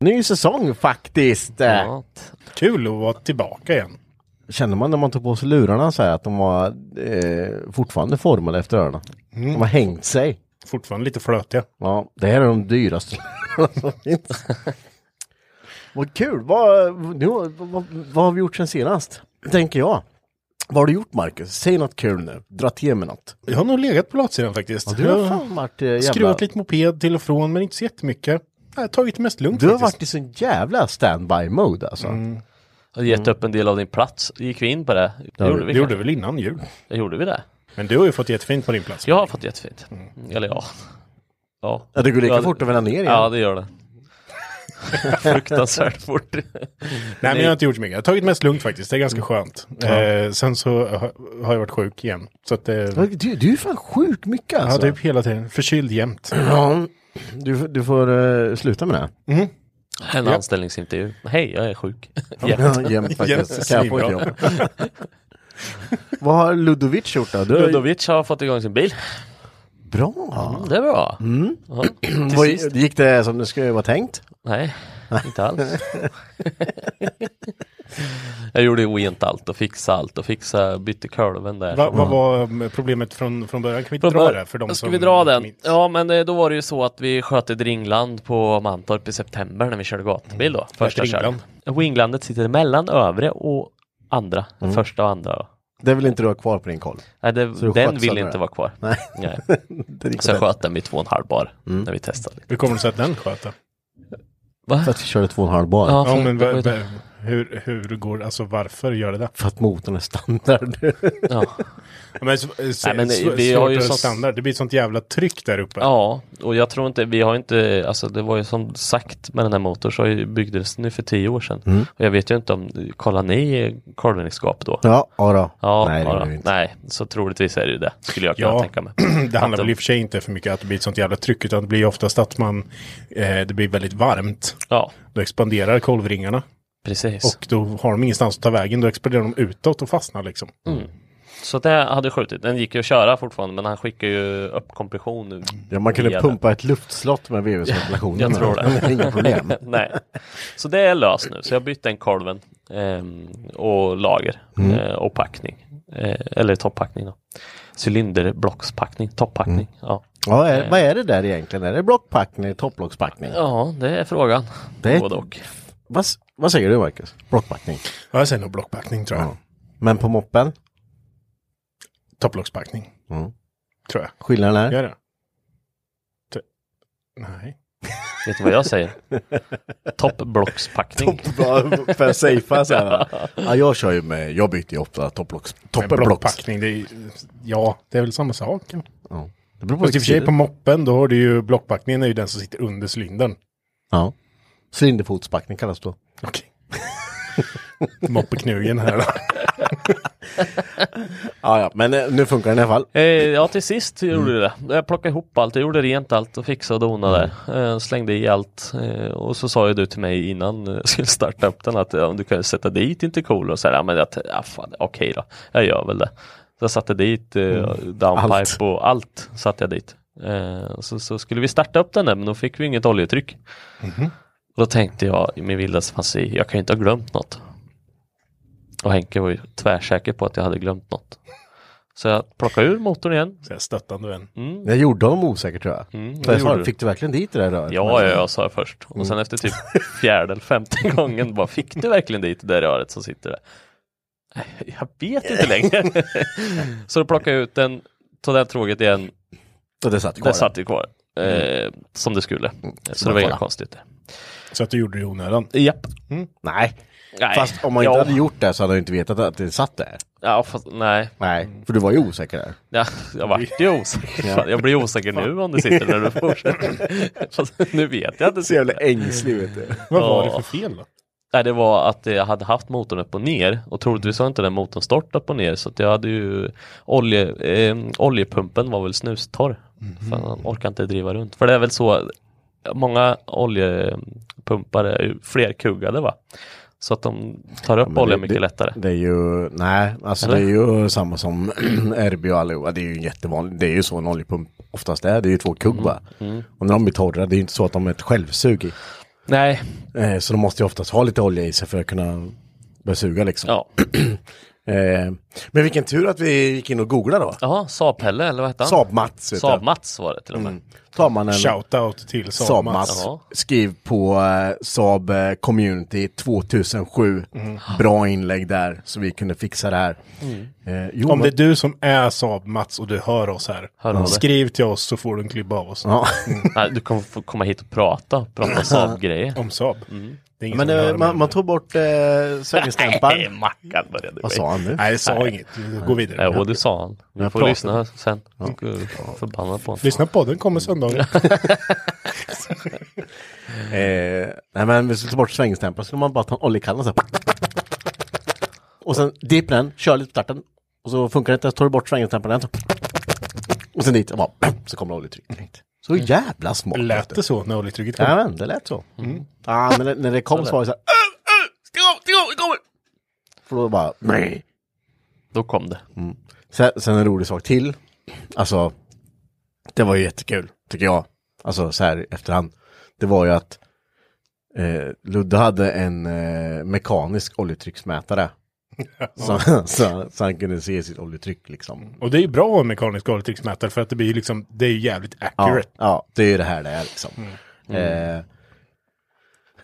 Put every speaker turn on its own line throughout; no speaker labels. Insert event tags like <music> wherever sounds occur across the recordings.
Ny säsong faktiskt! eh,
Ja. Kul att vara tillbaka igen.
Känner man när man tog på sig lurarna så här att de var eh, fortfarande formade efter öronen.
Mm.
De har hängt sig.
Fortfarande lite flötiga.
Ja, det här är de dyraste <laughs> lurarna som finns. Vad kul! Vad, nu, vad, vad har vi gjort sen senast? Tänker jag. Vad har du gjort Marcus? Säg något kul nu. Dra till med något.
Jag har nog legat på latsidan faktiskt.
Ja, du har
Jag
fan varit eh, jävla...
skruvat lite moped till och från, men inte så jättemycket. Jag har tagit det mest lugnt
Du har
faktiskt. Mm.
varit i sån jävla standby-mode alltså.
Du hade gett upp en del av din plats. Gick vi in på det? Det gjorde vi.
Det gjorde
Gjorde.
vi väl innan jul.
gjorde vi det?
Men du har ju fått jättefint på din plats.
Jag har fått jättefint. Mm, Eller ja. Ja.
Ja, det går lika
Ja, det-
fort att vända ner igen.
Ja, det
<laughs>
gör det. Fruktansvärt fort.
Nej, men jag har inte gjort så mycket. Jag har tagit det mest lugnt faktiskt. Det är ganska skönt. Eh, sen så ha- har jag varit sjuk igen. Så att eh,
Ja, Du, du är fan sjukt mycket
Ja,
alltså.
typ hela tiden. Förkyld jämt.
Ja, du, du får eh, sluta med det.
En anställningsintervju. Hej, jag är sjuk. Ja.
Jämt. Jämt
Jämt,
faktiskt. Kan jag få ett jobb? <laughs> Vad har Ludovic gjort då? Du,
Ludovic har fått igång sin bil.
Bra!
Det är bra.
<clears throat>
Ja, till
Mm. Vad-
sist.
gick det som det skulle vara tänkt?
Nej, inte
<laughs>
alls. jag gjorde oent allt och fixa allt och fixa, bytte kolven där.
Va, vad var um, problemet från, från början? Kan vi
Från
dra
bör-
det? För de
Ska
som
vi dra den?
minns?
Ja, men eh, då var det ju så att vi sköt ett ringland på Mantorp i september när vi körde gatubil då. Första
Ett Mm. ringland.
köret. Winglandet sitter mellan övre och andra. Första och andra. Då.
Det vill inte du ha kvar på din koll.
Nej, det,
Mm. Så du
den
sköt
vill
sönder
inte
den?
vara kvar.
Nej. <laughs>
Nej.
Det är riktigt
Så jag
rätt.
sköt den vid två och en halv bar
Mm.
när vi testade.
Hur kommer det sig att den sköt då?
Va?
För att vi körde två och en halv bar.
Ja,
Ja, men
det var
va,
ju-
va, hur, hur går Alltså varför gör det det?
För att motorn är
<laughs>
standard.
ja.
Ja, Men, så, så,
men
så,
vi
svårt
har ju
att
sånt-
standard. Det blir sånt jävla tryck där uppe.
Ja, och jag tror inte, vi har inte, alltså det var ju som sagt med den här motorn så har ju- byggdes den ju för tio år sedan.
Mm.
Och jag vet ju inte om, kollar ni kolvningsskap då?
ja, ja då.
Ja,
Nej, det
ja,
gjorde vi inte.
nej, så troligtvis är det ju det, skulle jag kunna
Ja,
tänka mig.
<clears throat> det handlar
Att
väl
de-
i och för sig inte för mycket att det blir ett sånt jävla tryck, utan det blir ju oftast att man, eh, det blir väldigt varmt.
Ja,
Då expanderar kolvringarna
precis.
och då har de ingenstans att ta vägen. Då expanderar de utåt och fastnar liksom.
Så det hade skjutit. Den gick ju att köra fortfarande men han skickar ju upp kompression nu.
Ja, man kunde
via den.
pumpa ett luftslott med VVS-ventilationen. <laughs>
Jag tror det.
Inga problem.
<laughs> Nej. Så det är löst nu. Så jag bytte den kolven ehm, och lager
Mm.
eh, och packning. Eh, eller toppackning då. Cylinderblockspackning, toppackning.
Mm.
Ja.
Ja, är, vad är det där egentligen? Är det blockpackning eller topplockspackning?
ja, det är frågan.
Det är-
Både och.
Vad, s- vad säger du Marcus? Blockpackning.
Ja, jag säger nog blockpackning tror jag.
Ja. Men på moppen?
Topplockspackning.
Mm.
Tror jag.
Skillnaden är?
Gör det? T- Nej.
Vet du vad
<laughs>
jag säger? Toppblockspackning.
<laughs> Bara för att safea så här. Ja, jag kör ju med, jag byter ju ofta topplocks.
Men
Toppenblocks.
blockpackning, det är, ju- ja, det är väl samma sak. ja.
Det beror på
Fast i och för sig
vilket
på
sidor.
moppen, då har du ju blockpackningen är ju den som sitter under cylindern.
Ja. Cylinderfotspackning kallas det då.
Okej. Moppeknugen här. då.
Ja, ja, men eh, nu funkar den i alla fall.
Eh, ja, till sist gjorde jag det. Jag plockade ihop allt, jag gjorde rent allt och fixade och donade. Eh, slängde i allt. Eh, och så sa ju du till mig innan eh, jag skulle starta upp den att ja, du kan ju sätta dit inte cool och så här, ja, men jag t- ja, fan, okej då, jag gör väl det. Så jag satte dit eh, downpipe
Allt.
och allt satte jag dit. Eh, så, så skulle vi starta upp den där, men då fick vi inget oljetryck. Och då tänkte jag i min vildaste fantasi, jag kan ju inte ha glömt något. Och Henke var ju tvärsäker på att jag hade glömt något. Så jag plockade ur motorn igen,
Så här Stöttande vän.
Jag gjorde honom osäker tror jag.
Mm,
Så
det
jag
gjorde
sa,
du.
fick du verkligen dit det där röret?
Ja, ja, ja, sa jag först. Och
Mm.
sen efter typ fjärde eller
<laughs>
femte gången bara, fick du verkligen dit det där röret som sitter där? Nej, Jag
<laughs>
vet inte längre. så då plockade jag ut den, tog den tråget igen,
Och det satt kvar. Mm.
det satt ju kvar. Eh, som det skulle. Så det var inget konstigt.
Så att du gjorde det i onödan.
Japp.
Nej.
Nej.
Fast om man inte
ja.
hade gjort det så hade jag inte vetat att det satt där.
Ja, fast, nej.
Nej, för du var ju osäker där.
Ja, jag vart ju osäker. Fan, Jag blir osäker nu
<laughs>
om det sitter när du fortsätter. Fast nu vet jag att det
Så jävla
sitter.
ängslig vet du.
Vad var
Ja.
det för fel då?
Nej, det var att jag hade haft motorn upp och ner och troligtvis har inte den motorn stått upp och ner så att jag hade ju olje, eh, oljepumpen var väl snustorr.
Mhm.
Fan, han orkar inte driva runt. För det är väl så, många oljepumpar är ju flerkuggade va? Så att de tar upp
men
olja
det-
mycket lättare.
Det är ju, nej, alltså
Eller?
det är ju samma som <clears throat> RB och allihopa. Det är ju jättevanligt. Det är ju så en oljepump oftast är. Det är ju två
Mm,
kugg va? Och när de blir torra, det är ju inte så att de är ett självsug i.
Nej,
Eh, så de måste ju oftast ha lite olja i sig för att kunna börja suga liksom.
ja.
Eh, men vilken tur att vi gick in och googlade då.
Jaha, Saab-Pelle eller vad hette han?
Saab-Mats. Mm. vet jag.
Saab-Mats var det till och med.
Tar man en
Shoutout till
Saab
Saab-Mats.
Mats.
Ja.
Skriv på eh, Saab eh, Community 2007.
Mm.
Bra inlägg där så vi kunde fixa det här. Eh, jo,
Om det är
men-
du som är Saab-Mats och du hör oss här.
Hör av dig.
skriv till oss så får du en klibba av oss.
Ja.
Nej, du kommer få komma hit och prata,
<laughs>
prata Saab-grejer.
Om Saab. Det är ingen
Men
som hör
eh,
om
man,
det.
man tog bort eh,
Nej,
Svängningsdämparen.
Mackan började
Vad sa han nu?
Nej, jag sa inget. Gå vidare.
Nej, och det sa han. Vi
Jag
får
pratade.
lyssna sen. Gud, Förbannad på honom.
Lyssna på den, kommer söndagen.
Eh, nej men vi skulle ta bort svängningsdämparen så skulle man bara ta en oljekanna så här. Och sen dip den, kör lite på starten. Och så funkar det inte, så tar du bort svängningsdämparen. Så. Och sen dit, och bara, så kommer det oljetryck direkt. Så jävla smart.
Lät det så när oljetrycket kom?
Jajamän, det lät så. Mm. Ja, men när- när det kom så var det så här. "Öh, öh, Stäng av, stäng av, det kommer! För då bara, nej.
Då kom det.
Sen, sen en rolig sak till. Alltså, det var ju jättekul, tycker jag. Alltså så här i efterhand. Det var ju att eh, Ludde hade en eh, mekanisk oljetrycksmätare. så, så, så han kunde se sitt oljetryck liksom.
Och det är ju bra att ha en mekanisk oljetrycksmätare för att det blir ju liksom, det är ju jävligt
Ja,
accurate.
ja, det är ju det här det är liksom.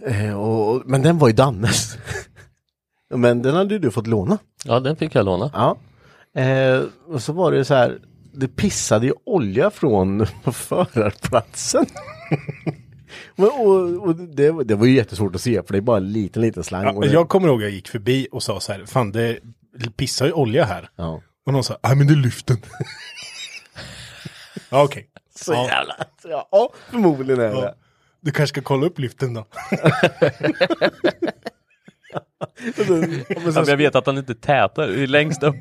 Eh, eh, och, och- men den var ju Dannes. <laughs> men den hade ju du fått låna.
Ja, den fick jag låna.
Ja. Eh, och så var det ju så här, det pissade ju olja från <laughs> förarplatsen. <laughs> Men, och, och det, det var ju jättesvårt att se för det är bara en liten, liten slang. och
Ja,
det,
jag kommer ihåg jag gick förbi och sa så här, fan det pissar ju olja här.
ja.
Och någon sa, nej men det är lyften. <laughs> ja okej.
Så
Ja.
jävla, så <laughs> ja, ja, förmodligen är det.
Ja. Du kanske ska kolla upp lyften <laughs> då.
<laughs> Ja, men
Ja,
sen,
men jag vet att han inte tätar. Det är
<laughs>
Längst upp,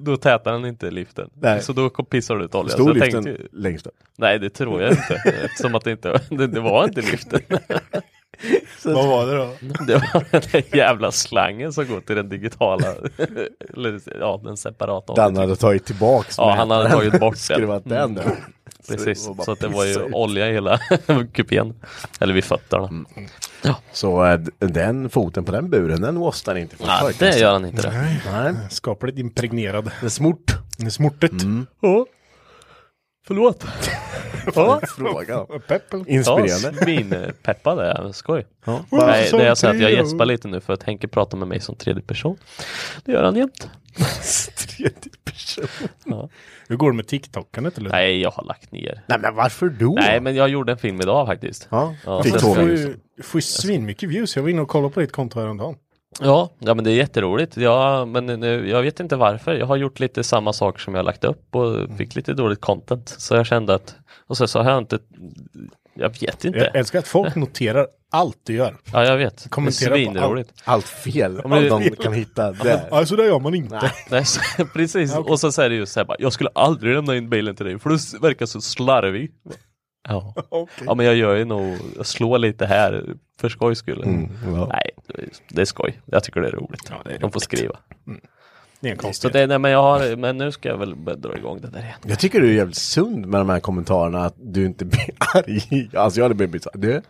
då tätar han inte liften.
Nej.
Så då kom- pissar du ut olja. Så
stod
jag
lyften
tänkte, ju-
längst upp.
nej, det tror jag inte.
<laughs>
Eftersom att det inte det, det var inte <laughs> liften.
Vad var det då?
Det var den där jävla slangen som går till den digitala, eller ja, den separata.
Dan hade tagit tillbaks
Ja, han hade
mätaren.
tagit bort den. Mm.
Skruvat den <laughs> där.
Precis,
det var bara
så att det var ju
pissa ut. Mm.
olja i hela <laughs> kupén. Eller vid fötterna.
Så eh, d- den foten på den buren, den wastar inte. från
Ja,
förkastet.
det gör han inte det.
Nej,
Skapligt impregnerad. Mm.
det är smort.
Smortet.
Ja.
<laughs>
Förlåt. Ja.
Fråga.
Peppel.
Inspirerande.
Ja, svinpeppad är jag. Skoj.
Ja.
Nej, det är så att jag
Something
gäspar lite nu för att Henke pratar med mig som tredje person. Det gör han jämt.
Tredje person.
Hur går det med TikTokandet eller?
Nej, jag har lagt ner.
Nej men varför då?
Nej, men jag gjorde en film idag faktiskt.
Ja,
Ja,
fick
så-
tåga.
Du får ju- du får ju svinmycket views. Jag var inne och kollade på ditt konto häromdagen.
Ja, ja men det är jätteroligt. Ja, men nu, jag vet inte varför. Jag har gjort lite samma saker som jag lagt upp och fick lite dåligt content. Så jag kände att, och så, så har jag inte, jag vet inte.
Jag älskar att folk noterar allt du gör.
Ja, jag vet.
Kommentera på
det är svinroligt.
Allt fel
men det-
de kan hitta där.
Nej, så där gör man inte.
Nej, så, <laughs> precis. Och så säger det ju så här, bara, jag skulle aldrig lämna in bilen till dig för du verkar så slarvig. Ja. <laughs>
Okej.
ja, men jag gör ju nog, jag slår lite här för skojs skull.
Mm, ja.
Nej, det är skoj. Jag tycker det är roligt. De får skriva.
Det är en
Så
konstighet.
det, nej, men, jag har, men nu ska jag väl börja dra igång det där igen.
Jag tycker du är jävligt sund med de här kommentarerna att du inte blir <laughs> arg. Alltså jag hade blivit så här,
<laughs>
du.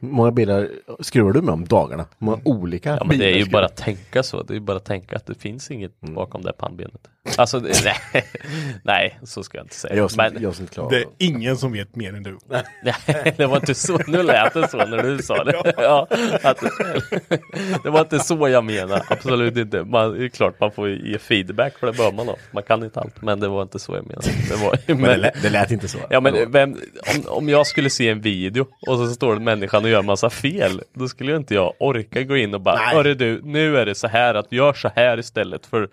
Hur många bilar skruvar du med om dagarna? Hur många olika
Mm. Ja, men det är ju
bilar
bara att tänka så. Det är ju bara att tänka att det finns inget
Mm.
bakom det pannbenet. Alltså, det, <laughs> nej, nej, så ska jag inte säga.
skruvar- Jag som,
men,
jag som inte klarar
Det
det.
är ingen som vet mer än du.
Nej, det var inte så. Nu lät det så när du
<laughs>
sa det. Ja, att, det var inte så jag menade. Absolut inte. Man, det är klart man får ge feedback för det bör man ha. Man kan inte allt, men det var inte så jag menade. Det var,
Men det lät, det lät inte så.
Ja men vem, om, om jag skulle se en video och så står den människan och gör massa fel Då skulle ju inte jag orka gå in och bara
Nej.
Hörru du, nu är det så här att gör så här istället för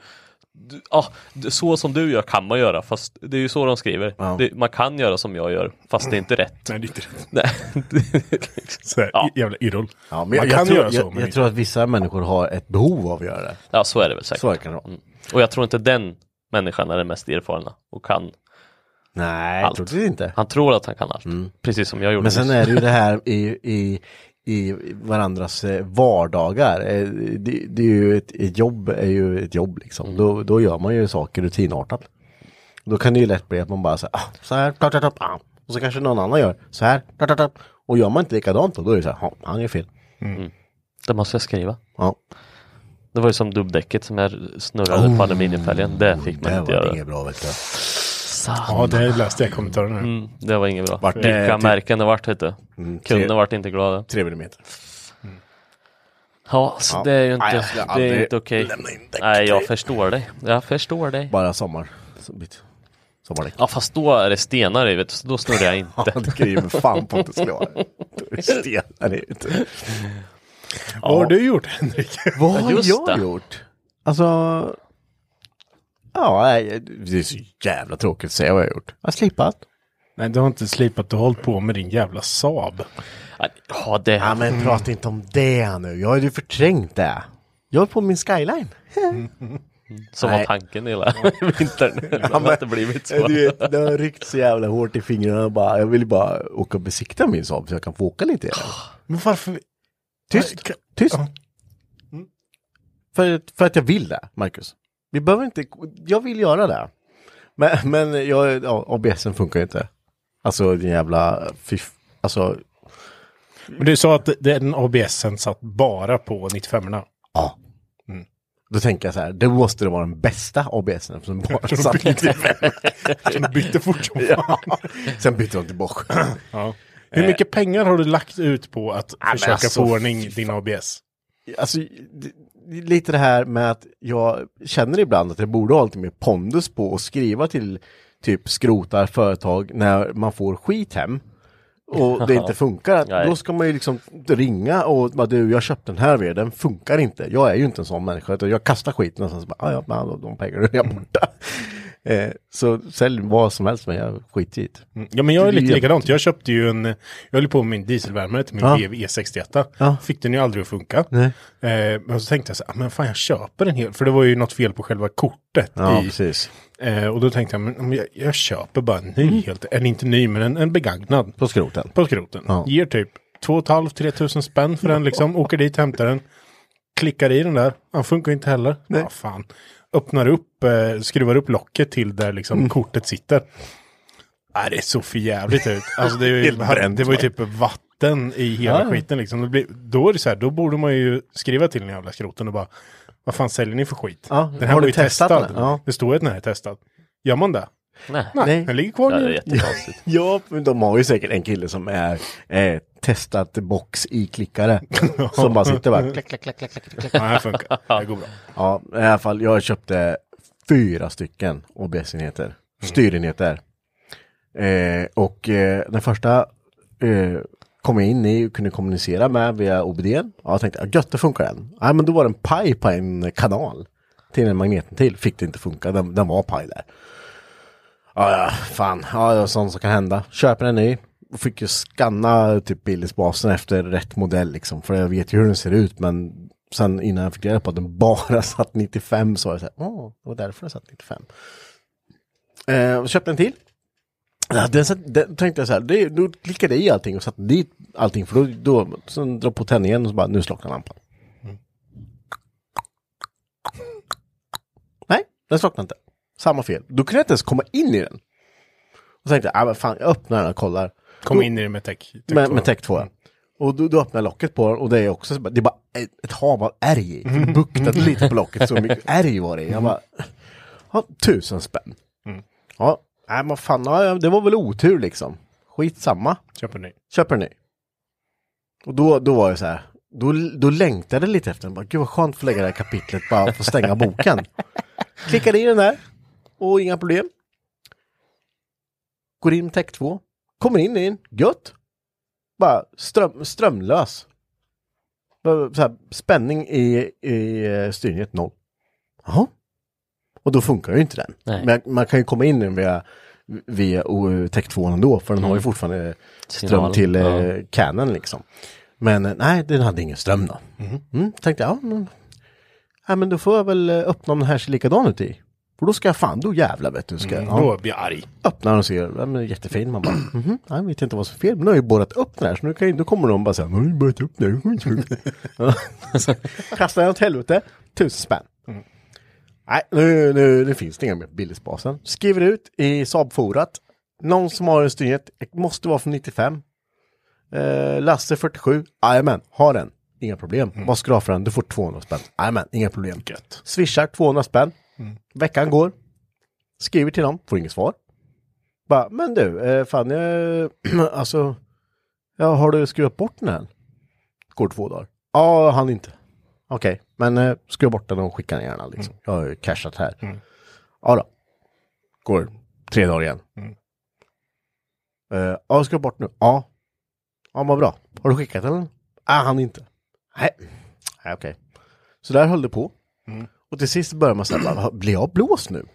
du- ah, du- Så som du gör kan man göra fast det är ju så de skriver
Ja.
det, Man kan göra som jag gör fast det är inte rätt
Nej, det är inte rätt.
Nej.
Så här,
Ja.
i- Jävla idoll.
Ja, men
Man
jag,
kan
jag, tror,
göra så,
jag,
men
jag
inte.
tror att vissa människor har ett behov av att göra det.
<laughs> Ja så är det väl säkert
Så kan det vara.
Och jag tror inte den människan är den mest erfarna och kan
Nej,
Allt.
jag tror inte.
Han tror att han kan allt Precis som jag gjorde
Mm. Men sen
nyss.
är det ju det här i, i, i varandras eh, vardagar. Eh, Det, det är ju ett, ett jobb är ju ett jobb liksom.
Mm.
Då, då gör man ju saker rutinartat. Då kan det ju lätt bli att man bara så här, ah, så här, klart, klart, klart, ah. och så kanske någon annan gör så här, klart, klart, klart. och gör man inte likadant då, då är det så här, ah, han gör fel.
Det måste jag skriva
Ja,
Det var ju som dubbdäcket som jag snurrade på aluminiumfälgen. Det fick man
Oh, det
inte
var
göra.
inget bra vet du.
Ja, det läste jag i kommentarerna. här.
Mm, det var inget bra.
Vart det-
Vilka
till-
märken det vart vet du.
tre-
Kunde vart inte glada.
Tre millimeter.
Ja, så
Ja.
det är ju
Nej, jag
inte,
skulle
det är
aldrig
inte okej.
lämna in däck
Nej, jag
till-
förstår dig. Jag förstår dig.
Bara sommar. så- bit- Sommardäck.
Ja, fast då är det stenar i vet du, så då snurrar jag
<laughs> Ja,
inte.
det kan ju för fan på att det
<laughs>
skulle vara. Då är det stenar i ute.
Vad har du gjort Henrik? <laughs>
Vad har
Just
jag
det.
gjort? Alltså... Ja, nej, det är så jävla tråkigt att säga vad jag har gjort. Jag har slipat.
Nej, du har inte slipat. Du har hållit på med din jävla Saab.
Ja, det...
Ja, men prata inte om det nu. Jag har ju förträngt det. Jag har på min skyline.
som
nej.
var tanken hela <laughs> vintern. Det har inte blivit
<laughs>
så.
Du vet, det har ryckt så jävla hårt i fingrarna. Jag Bara, jag vill bara åka och besikta min Saab så jag kan få åka lite i den.
Men varför?
Tyst!
Nej,
Tyst!
Ja.
För, att- för att jag vill det, Marcus. Vi behöver inte... Jag vill göra det. Men, men jag, ja, ABSen funkar ju inte. Alltså din jävla... Fiff, alltså...
Men du sa att den ABSen satt bara på <laughs> 95orna.
Ja. Då tänker jag så här, det måste det vara den bästa ABSen
<laughs>
som bara satt 95.
Du bytte fort <laughs> som
ja. Sen bytte de till Bosch.
Ja. Eh. Hur mycket pengar har du lagt ut på att
men
försöka
alltså,
få ordning din ABS?
Alltså, det- det är lite det här med att jag känner ibland att jag borde ha lite mer pondus på att skriva till typ skrotar företag när man får skit hem och det inte funkar. Att
Nej.
Då ska man ju liksom ringa och bara du, jag köpte den här veden, den funkar inte. Jag är ju inte en sån människa, utan jag kastar skiten och sen så bara, "Ah, ja, men då- de pengarna är <laughs> jag borta. eh, så sälj vad som helst, men jag skiter i det.
Mm. Ja, men jag
Det
är
är
lite
ju-
likadant. Jag köpte ju en... Jag höll på med min dieselvärmare till min
Ja.
EV E61.
Ja.
Fick den ju aldrig att funka.
Nej.
Eh, men så tänkte jag så här, "Ah, men fan jag köper en hel... För det var ju något fel på själva kortet.
Ja,
i,
precis. Mm.
eh, och då tänkte jag, men om jag, jag köper bara en ny helt... Eller inte ny, men en, en begagnad.
På skroten.
På skroten.
Ja.
Ger typ 2,5-3 tusen spänn för den liksom. Åker dit, hämtar den. Klickar i den där. Han funkar inte heller. Ja, fan. Öppnar upp, eh, skruvar upp locket till där liksom
Mm.
kortet sitter. Nej, det såg för jävligt ut. Alltså, det, är
<laughs>
ju,
Helt bränt.
det var ju typ vatten i hela
Ja, ja.
skiten liksom. Det blir, då är det så här, då borde man ju skriva till den jävla skroten och bara Vad fan säljer ni för skit?
Ja,
den här
har
var
du
ju
testat
testad.
den? Ja.
Det står ju att den här är testad. Gör man det?
Nej,
Nej,
Nej.
den ligger kvar
det är
Mm.
nu.
jättekonstigt.
Ja, men de har ju säkert en kille som är eh, testat box i klickare. som bara sitter där. Klick, klick.
Ja, den här funkar. Det här går bra.
Ja, i alla fall, jag köpte fyra stycken OBS-enheter. Styrenheter. Eh, och eh, den första eh, kom jag in i och kunde kommunicera med via OBD. Ja, jag tänkte, ja, gött, det funkar den. Nej, men då var den paj på en kanal. Till en magneten till fick det inte funka, den, den var paj där. Ja, ja, fan. Ja, det är sånt som kan hända. Köper en ny. fick ju skanna typ Billisbasen efter rätt modell liksom. För jag vet ju hur den ser ut men sen innan jag fick reda på att den bara <laughs> satt 95 så var det så här, åh, det var därför den satt 95. Eh, och köpte en till. Ja, den, satt, den tänkte jag så här, det, då klickade jag i allting och satte dit allting för då, då sen drar på tändningen och så bara, nu slocknar lampan. Nej, den slocknade inte. Samma fel. Då kunde jag inte ens komma in i den. Och tänkte jag, ah, men fan, jag öppnar den och kollar.
Kom in i det med tech. tech
Med,
två. Mm,
med Tech 2. ja. Och då, då öppnar jag locket på den och det är också, så bara- det är bara ett, ett hav av ärg i. För det buktade
Mm.
lite på locket så
<laughs>
mycket ärg var det i. Jag bara, ja, tusen spänn.
Mm.
Ja, nej men fan, ja, det var väl otur liksom. Skitsamma,
Köper ni.
köper en ny. Och då, då var jag så här, då, då längtade jag lite efter den. Bara, Gud vad skönt att få lägga det här kapitlet, bara få stänga boken. Klickade i den där och inga problem. Går in Tech 2. Kommer in i den, gött. Bara ström, strömlös. Bara Så här, spänning i, i eh, styrningen noll. Jaha. Och då funkar ju inte den.
Nej.
Men man kan ju komma in i den via, via o- Tech 2 ändå för den har ju fortfarande ström
Signal,
till eh,
ja.
Canon liksom. Men eh, nej, den hade ingen ström då.
Mhm.
Mm, tänkte jag, ja men, ja, men då får jag väl eh, öppna om den här ser likadan ut i. För då ska jag fan, då jävlar vet du. Ska,
Mm,
jag- ja
Då blir jag arg.
öppnar och ser, ja, men jättefin. Man bara, mhm, ja, jag vet inte vad som är fel, men nu har jag ju borrat upp den här så nu, kan, ju- nu kommer de bara säga, nu har jag borrat upp den. Ja. <laughs> Så Kastar den åt helvete, tusen spänn. Nej, nu, nu, nu finns det inga mer Billisbasen. Skriver ut i Saab-forat, någon som har en styrnet, det måste vara från 95. Eh, Lasse 47, jajamän, har den. Inga problem. Vad ska du ha för den? Du får 200 spänn. Jajamän, inga problem.
Gött.
Swishar 200 spänn. Veckan går. Skriver till dem, får inget svar. Bara, men du, eh, fan jag, <clears throat> alltså, ja, har du skruvat bort den än? Går två dagar. Ja, han inte. Okej, men eh, skruva bort den och skicka den gärna liksom. Jag har ju cashat här. Ja då. Går tre dagar igen. Eh, ja, skruva bort nu. Ja. Ja, vad bra. Har du skickat den? Nej, han inte. Nej, Nej, okej. Så där höll det på. Och till sist börjar man säga, blir jag blåst nu?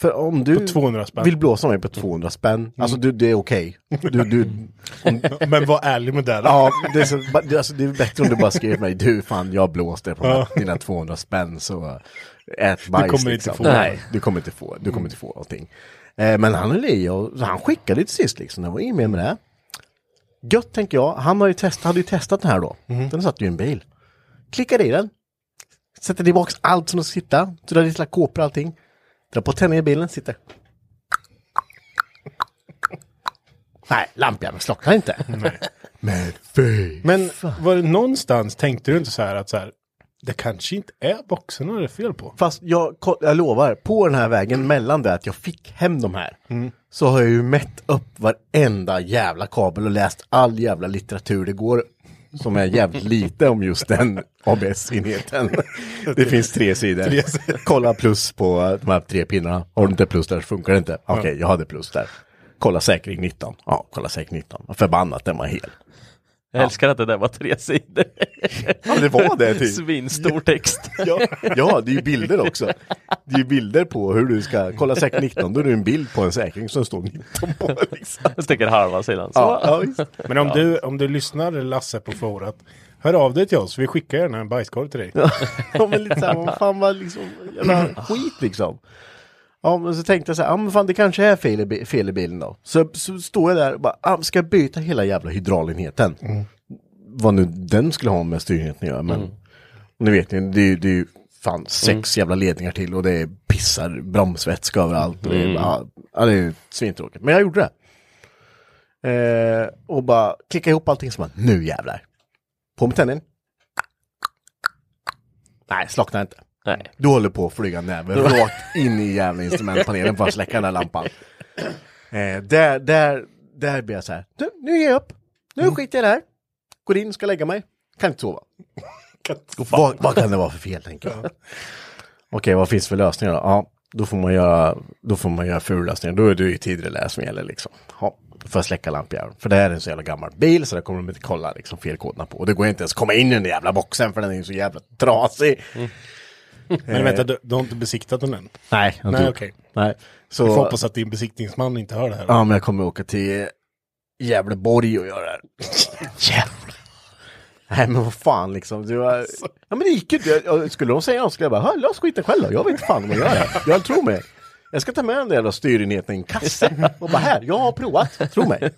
För om du
200 spänn.
vill blåsa mig på 200 spänn,
Mm.
alltså du, det är okej. Du, du,
<laughs> Men var ärlig med det.
ja, det är, så, ba- det- alltså, det är bättre om du bara skriver mig, du fan jag blåste på
Ja.
dina 200 spänn så ät bajs.
kommer inte
liksom.
få. Mm.
Nej, du kommer inte få, du kommer inte få någonting. Eh, men han höll i och han skickade till sist liksom, det var inget mer med det. Gött tänker jag, han har ju test, hade ju testat den här då.
Mm.
Den satt ju i en bil. Klickade i den, sätter tillbaks allt som ska sitta, drar lite kåpor och allting. Drar på tändningen i bilen, sitter. Nej, lampjäveln slocknar inte. Men fy!
Men var det någonstans tänkte du inte så här att så här, det kanske inte är boxarna det är fel på?
Fast jag, ko- jag lovar, på den här vägen mellan det att jag fick hem de här så har jag ju mätt upp varenda jävla kabel och läst all jävla litteratur det går som är jävligt lite om just den <laughs> ABS-enheten. Det finns tre sidor. Kolla plus på eh, de här tre pinnarna. Har du inte plus där så funkar det inte. Okej, jag hade plus där. Kolla säkring 19. Ja, kolla säkring 19. Förbannat, den var hel.
Jag älskar att det där var tre sidor.
Ja, det var det typ. <laughs>
Svinstor text.
Ja, ja, det är ju bilder också. Det är ju bilder på hur du ska, kolla säkring 19, då är det en bild på en säkring som står 19 på. Liksom.
Jag sticker halva sidan. Så.
Ja, ja, visst.
Men om, du, om du lyssnar Lasse på forat, hör av dig till oss, vi skickar gärna en bajskorv till dig.
<laughs> ja, men lite så här, vad fan var liksom, jävla <clears throat> skit liksom. Ja, men så tänkte jag så här, ja men fan det kanske är fel i, bi- fel i bilen då. Så, så står jag där och bara, ah, ska jag byta hela jävla hydraulenheten? Vad nu den skulle ha med styrningen att göra, men ni vet ni, det, är ju- det är ju fan sex jävla ledningar till och det är pissar, bromsvätska överallt. Och det, är, bara, ja, det är ju svintråkigt, men jag gjorde det. Eh, och bara klicka ihop allting som bara, nu jävlar. På med tändningen. Nej, slocknar inte.
Nej.
Du håller på att flyga näven rakt in i jävla instrumentpanelen för att släcka den där lampan. Eh, där, där, där blir jag så här, nu, nu ger jag upp. Nu skiter jag i det här. Går in, ska lägga mig. Kan inte sova. Vad, vad kan det vara för fel, tänker jag. Okej, vad finns för lösningar då? Ja, då får man göra, då får man göra fullösningar. Då är det ju Tidrelä som gäller liksom. Ja, då får jag släcka lampjäveln. För det här är en så jävla gammal bil så där kommer de inte kolla liksom felkoderna på. Och det går inte ens att komma in i den där jävla boxen för den är ju så jävla trasig.
Men vänta, du, du har inte besiktat den än?
Nej, jag
Nej,
tror-
okej.
Nej.
Vi får
Så,
hoppas att din besiktningsman inte hör det här.
ja men jag kommer åka till Gävleborg att göra.
<laughs>
Gävle. Nej men vad fan liksom. Du, har-
Alltså.
ja men det gick ju inte. Jag- jag- Skulle de säga något skulle jag bara, "Hör, lös skiten själv då. Jag vet inte fan vad jag gör.
<laughs>
här. Jag tror mig. Jag ska ta med den där jävla styrenheten i en kasse och bara här, jag har provat, tro
<laughs>
mig.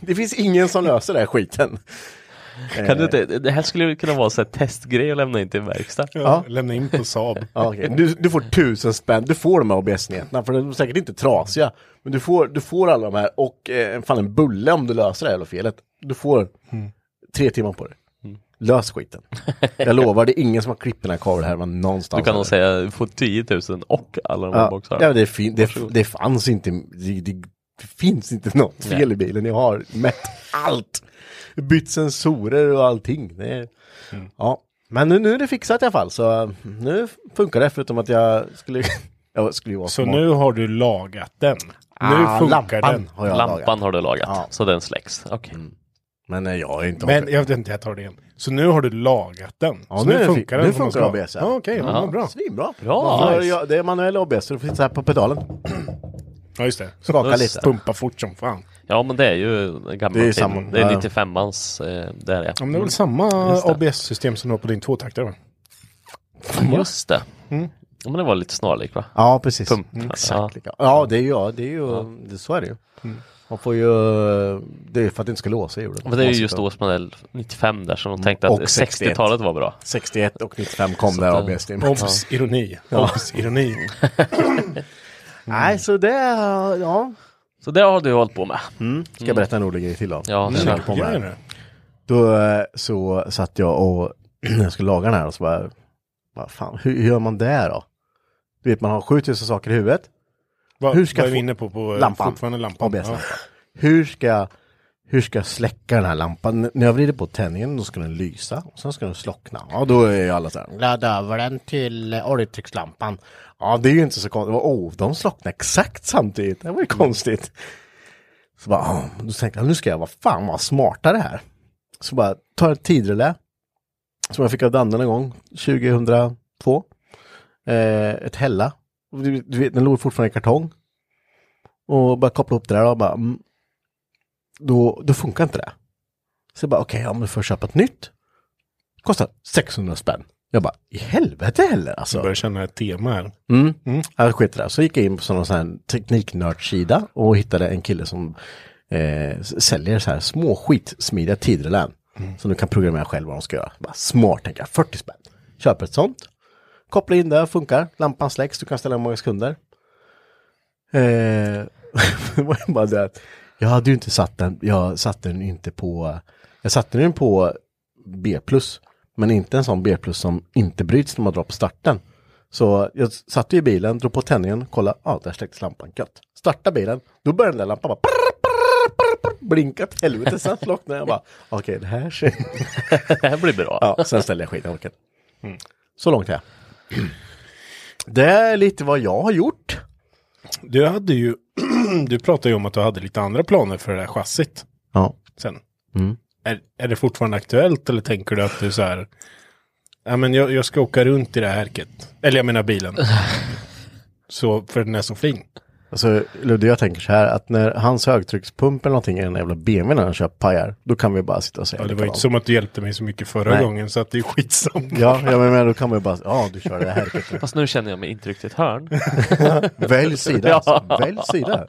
Det finns ingen som löser den här skiten.
Kan du inte, det här skulle ju kunna vara så här testgrej att lämna in till en verkstad.
Ja. Lämna in på Saab.
Ja, okej. du, du får tusen spänn, du får de här ABS-nätena för de är säkert inte trasiga. Men du får, du får alla de här och eh, fan en bulle om du löser det här jävla felet. Du får tre timmar på dig.
Mm.
Lös skiten. Jag lovar, det är ingen som har klippt den här kabelhärvan någonstans.
Du kan nog säga få 10 000 och alla de här
ja.
boxarna.
Ja, det, är fin- det, det fanns inte, det, det, det finns inte något fel i bilen. Jag har mätt allt. Bytt sensorer och allting. Det är,
Mm.
ja. Men nu, nu är det fixat i alla fall, så mm, nu funkar det förutom att jag skulle... <laughs> Jag skulle ju vara
Så
smart.
nu har du lagat den.
Ah,
nu funkar
lampan
den.
Har jag
Lampan
lagat.
har du lagat,
Ja.
så den släcks. Okej.
Men nej, jag är inte
Men
ABS.
jag vet inte, jag tar det igen. Så nu har du lagat den.
Ja,
så
nu är det fi- nu
som den
funkar
ska.
ABS.
Ja, okej, ja. bra.
Svinbra.
Bra.
Ja,
Nice.
jag- det är manuell ABS, så du får sitta här på pedalen.
Ja, just det.
Skaka
Den
lite.
Pumpa fort som fan.
Ja men det är ju gammalt.
Det är
Det
ju
är,
samma-
det är
ja.
95ans. Eh, det är
Ja,
det.
men det
Mm.
är väl samma ABS-system som du har på din tvåtaktare? va?
Mm. Just det. Ja, men det var lite snarlik va?
Ja, precis. Mm,
Pump.
Exakt. lika. Ja, det är ju, ja, det är ju det, så är det ju. Man får ju, det är för att det inte ska låsa i hjulet.
Men det är
Man
ju
ska-
just årsmodell 95 där som de tänkte att
Och 61.
60-talet var bra.
61 och 95 kom där ABS. Det är-
Obs, ironi. Obs, ironi.
Nej, så det, ja.
Så det har du hållit på med.
Ska jag berätta en rolig grej till då?
Mm. Ja,
Jag
kör.
tänker på mig.
Gör det.
Då eh, så satt jag och <clears throat> jag skulle laga den här och så bara, vad fan, hur, hur gör man det då? Du vet, man har 7000 saker i huvudet.
Vad,
Hur ska
vad är
få-
vi inne på? på eh,
Lampan.
Fortfarande lampan.
ABS -lampan. Hur ska, jag- hur ska jag släcka den här lampan? N- När jag vrider på tändningen då ska den lysa och sen ska den slockna. Ja, då är ju alla så här, ladda över den till eh, oljetryckslampan. Ja, det är ju inte så konstigt. Åh, oh, de slocknade exakt samtidigt.
Mm.
Det var ju konstigt. Så bara, ah, då tänkte jag, nu ska jag vara fan vad smartare här. Så bara, ta ett tidrelä. Som jag fick av Danne en gång, 2002. Eh, ett Hella. Du, du vet, den låg fortfarande i kartong. Och bara koppla upp det där och bara, mm, då, då funkar inte det. Så jag bara, okej, ja men då får jag köpa ett nytt. Kostar 600 spänn. Jag bara, i helvete heller alltså.
Jag börjar känna ett tema här.
Mm. Jag sket i det. här. Så gick jag in på sån sån här tekniknördsida och hittade en kille som eh, s- säljer så här små skitsmidiga tidrelän. Som du kan programmera själv vad de ska göra. Bara smart tänker jag, 40 spänn. Köper ett sånt. Kopplar in det, funkar. Lampan släcks, du kan ställa hur många sekunder. Eh, <laughs> det var ju bara det att jag hade ju inte satt den, jag satte den inte på, jag satte den på B+. Men inte en sån B+, som inte bryts när man drar på starten. Så jag satt ju i bilen, drog på tändningen, kollade, ja ah, där släcktes lampan, gött. Starta bilen, då började den där lampan bara prr, prr, prr, prr, blinka till helvete, sen slocknade jag bara, okej det här ser... <laughs>
Det här blir bra.
ja, sen ställde jag skiten, jag orkar inte. Så långt är jag. <clears throat> Det är lite vad jag har gjort.
Du hade ju, <clears throat> du pratade ju om att du hade lite andra planer för det där chassit
Ja.
sen. Är, är det fortfarande aktuellt eller tänker du att du så här, ja men jag, jag ska åka runt i det här härket. Eller jag menar bilen. så, för den är så fin.
Alltså Ludde, jag tänker så här att när hans högtryckspump eller någonting i den jävla BMWn han köpt pajar, då kan vi bara sitta och säga
Ja, det var ju
likadant.
inte som att du hjälpte mig så mycket förra
Nej.
gången så att det är skitsamma.
Ja, ja, men men då kan man ju bara, ja du kör det här. härket.
Fast nu känner jag mig inte riktigt
<laughs>
hörn.
Välj sida alltså, välj sida.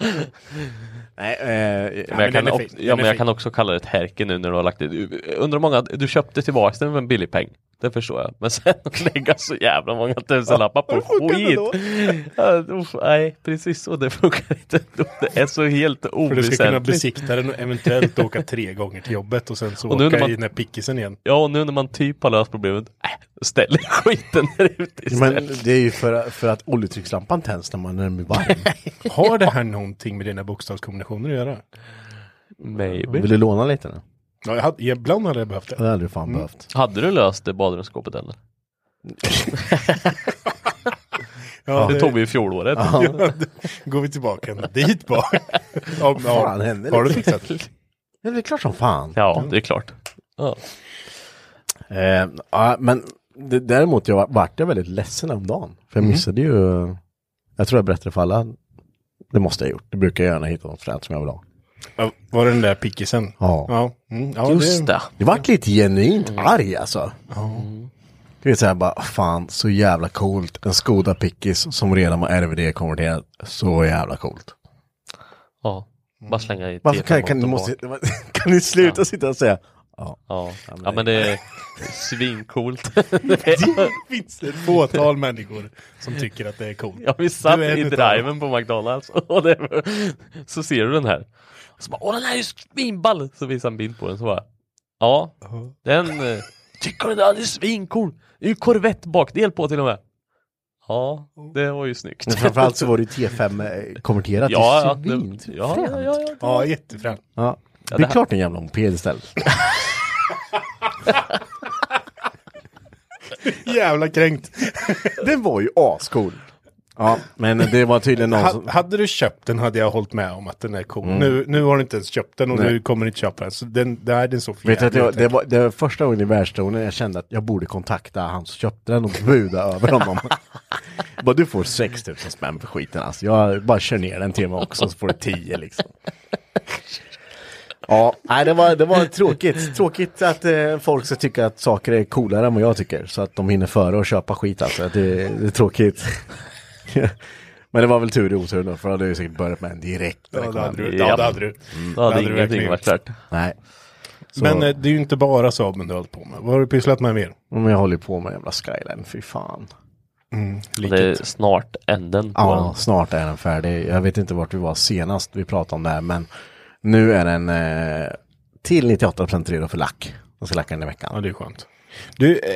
Nej, eh,
Men jag,
den
kan,
är
o-
fin. Den
ja,
är
men jag
fin.
kan också kalla det ett härke nu när du har lagt det. Du- Undrar hur många, du köpte tillbaka den för en billig peng. Det förstår jag. Men sen att lägga så jävla många tusenlappar på
funkar inte då.
skit. Ja, uff, Nej, precis så. Det funkar inte. ändå. Det är så helt
För du ska kunna
oväsentligt.
besikta den och eventuellt åka tre gånger till jobbet och sen så
Och nu
åka
när man-
i den här pickisen igen.
Ja, och nu när man typ har löst problemet, äh, ställ <laughs> skiten där ute istället.
Men det är ju för, för att oljetryckslampan tänds när man är varm.
Har det här någonting med dina bokstavskombinationer att göra?
Maybe.
Vill du låna lite nu?
Ja, jag hade, ibland hade jag behövt
Det
det.
hade du fan behövt.
Hade du löst det badrumsskåpet eller?
<laughs> Ja,
Det tog vi i fjolåret.
Ja, då går vi tillbaka ända dit bara. Ja, men,
fan
ja.
hände
Har du
det?
fixat?
Ja, det är klart som fan.
Ja, det är klart. Ja.
Eh, ja, men det, däremot jag var- vart jag väldigt ledsen om dagen. För jag missade ju, jag tror jag berättade för alla, det måste jag ha gjort. Det brukar jag göra när jag hittar något fränt som jag vill ha.
Ja, var det den där pickisen?
Ja.
ja. Mm, ja
Just det.
Det vart lite genuint arg alltså. Du vet såhär bara, fan så jävla coolt. En Skoda Pickis som redan var RVD-konverterad. Så jävla coolt.
Ja. Bara slänga i
Varför kan, kan, ni,
tetramotorn
måste,
bak.
<laughs> kan ni sluta sitta och säga?
Ja. ja men det är svincoolt. <laughs>
Det finns ett fåtal människor som tycker att det är coolt.
Ja, vi satt
Du är en
i
utav
driven på McDonalds <laughs> och det, så ser du den här. Och så bara, åh den här är ju svinball! Så visar han bild på den så bara, ja, den eh, tycker du den är svincool? Det är ju korvettbakdel på till och med. Ja, det var ju snyggt.
Men framförallt så var det ju eh, <laughs> T5-konverterat.
<laughs> ja,
det är
ja, det- ja,
svinfränt.
ja, ja, ja.
Ja, jättefränt.
Ja. Det är
det här-
klart en jävla moped istället.
Jävla kränkt.
Den var ju ascool. Ja, men det var tydligen någon som...
Ha, hade du köpt den hade jag hållit med om att den är cool. Nu, nu har du inte ens köpt den och
Nej.
nu kommer du inte köpa den. Så den, nej, den såg för
Vet du att
jävligt
jag, det,
ut.
var, det var första gången i världsstolen jag kände att jag borde kontakta han som köpte den och buda över honom. Jag <laughs> bara, du får 6 000 spänn för skiten alltså. Jag bara kör ner den till mig också så får du 10 liksom. Ja, nej, det, var, det var tråkigt. Tråkigt att eh, folk ska tycka att saker är coolare än vad jag tycker. Så att de hinner före och köpa skit alltså. Det, det är tråkigt. <laughs> Men det var väl tur i oturen då, för då hade jag ju säkert börjat med en direkt.
Ja, det hade du.
Ja.
Ja, det hade du.
Då hade
hade du verkligen
ingenting varit klart.
Nej, så-
Men eh, det är ju inte bara Saaben du har hållit på med. Vad har du pysslat med mer?
men jag håller ju på med jävla skyline, fy fan.
Mm,
Det är snart änden på
Ja, snart är den färdig. Jag vet inte vart vi var senast vi pratade om det här, men nu är den eh, till 98% redo för lack. Jag ska lacka den i veckan.
Ja, det är skönt. Du, eh,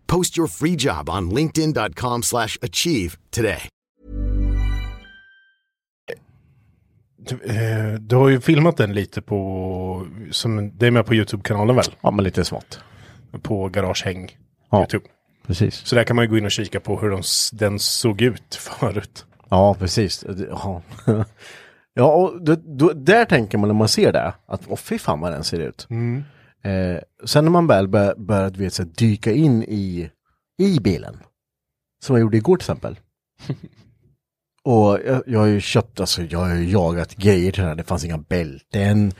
Post your free job on linkedin.com/achieve slash achieve today.
du, eh, du har ju filmat den lite på, som, det är med på YouTube-kanalen väl?
Ja, men lite smått.
På Garagehäng.
Ja.
YouTube.
Precis.
Så där kan man ju gå in och kika på hur de, s- den såg ut <laughs> förut.
Ja, precis. Det- Ja, <laughs> ja och då, då, där tänker man när man ser det, att åh fy fan vad den ser ut. Eh, sen när man väl bör, börjar du vet, så här, dyka in i, i bilen, som jag gjorde igår till exempel. Och jag, jag har ju köpt, alltså jag har ju jagat grejer till den här, det fanns inga bälten,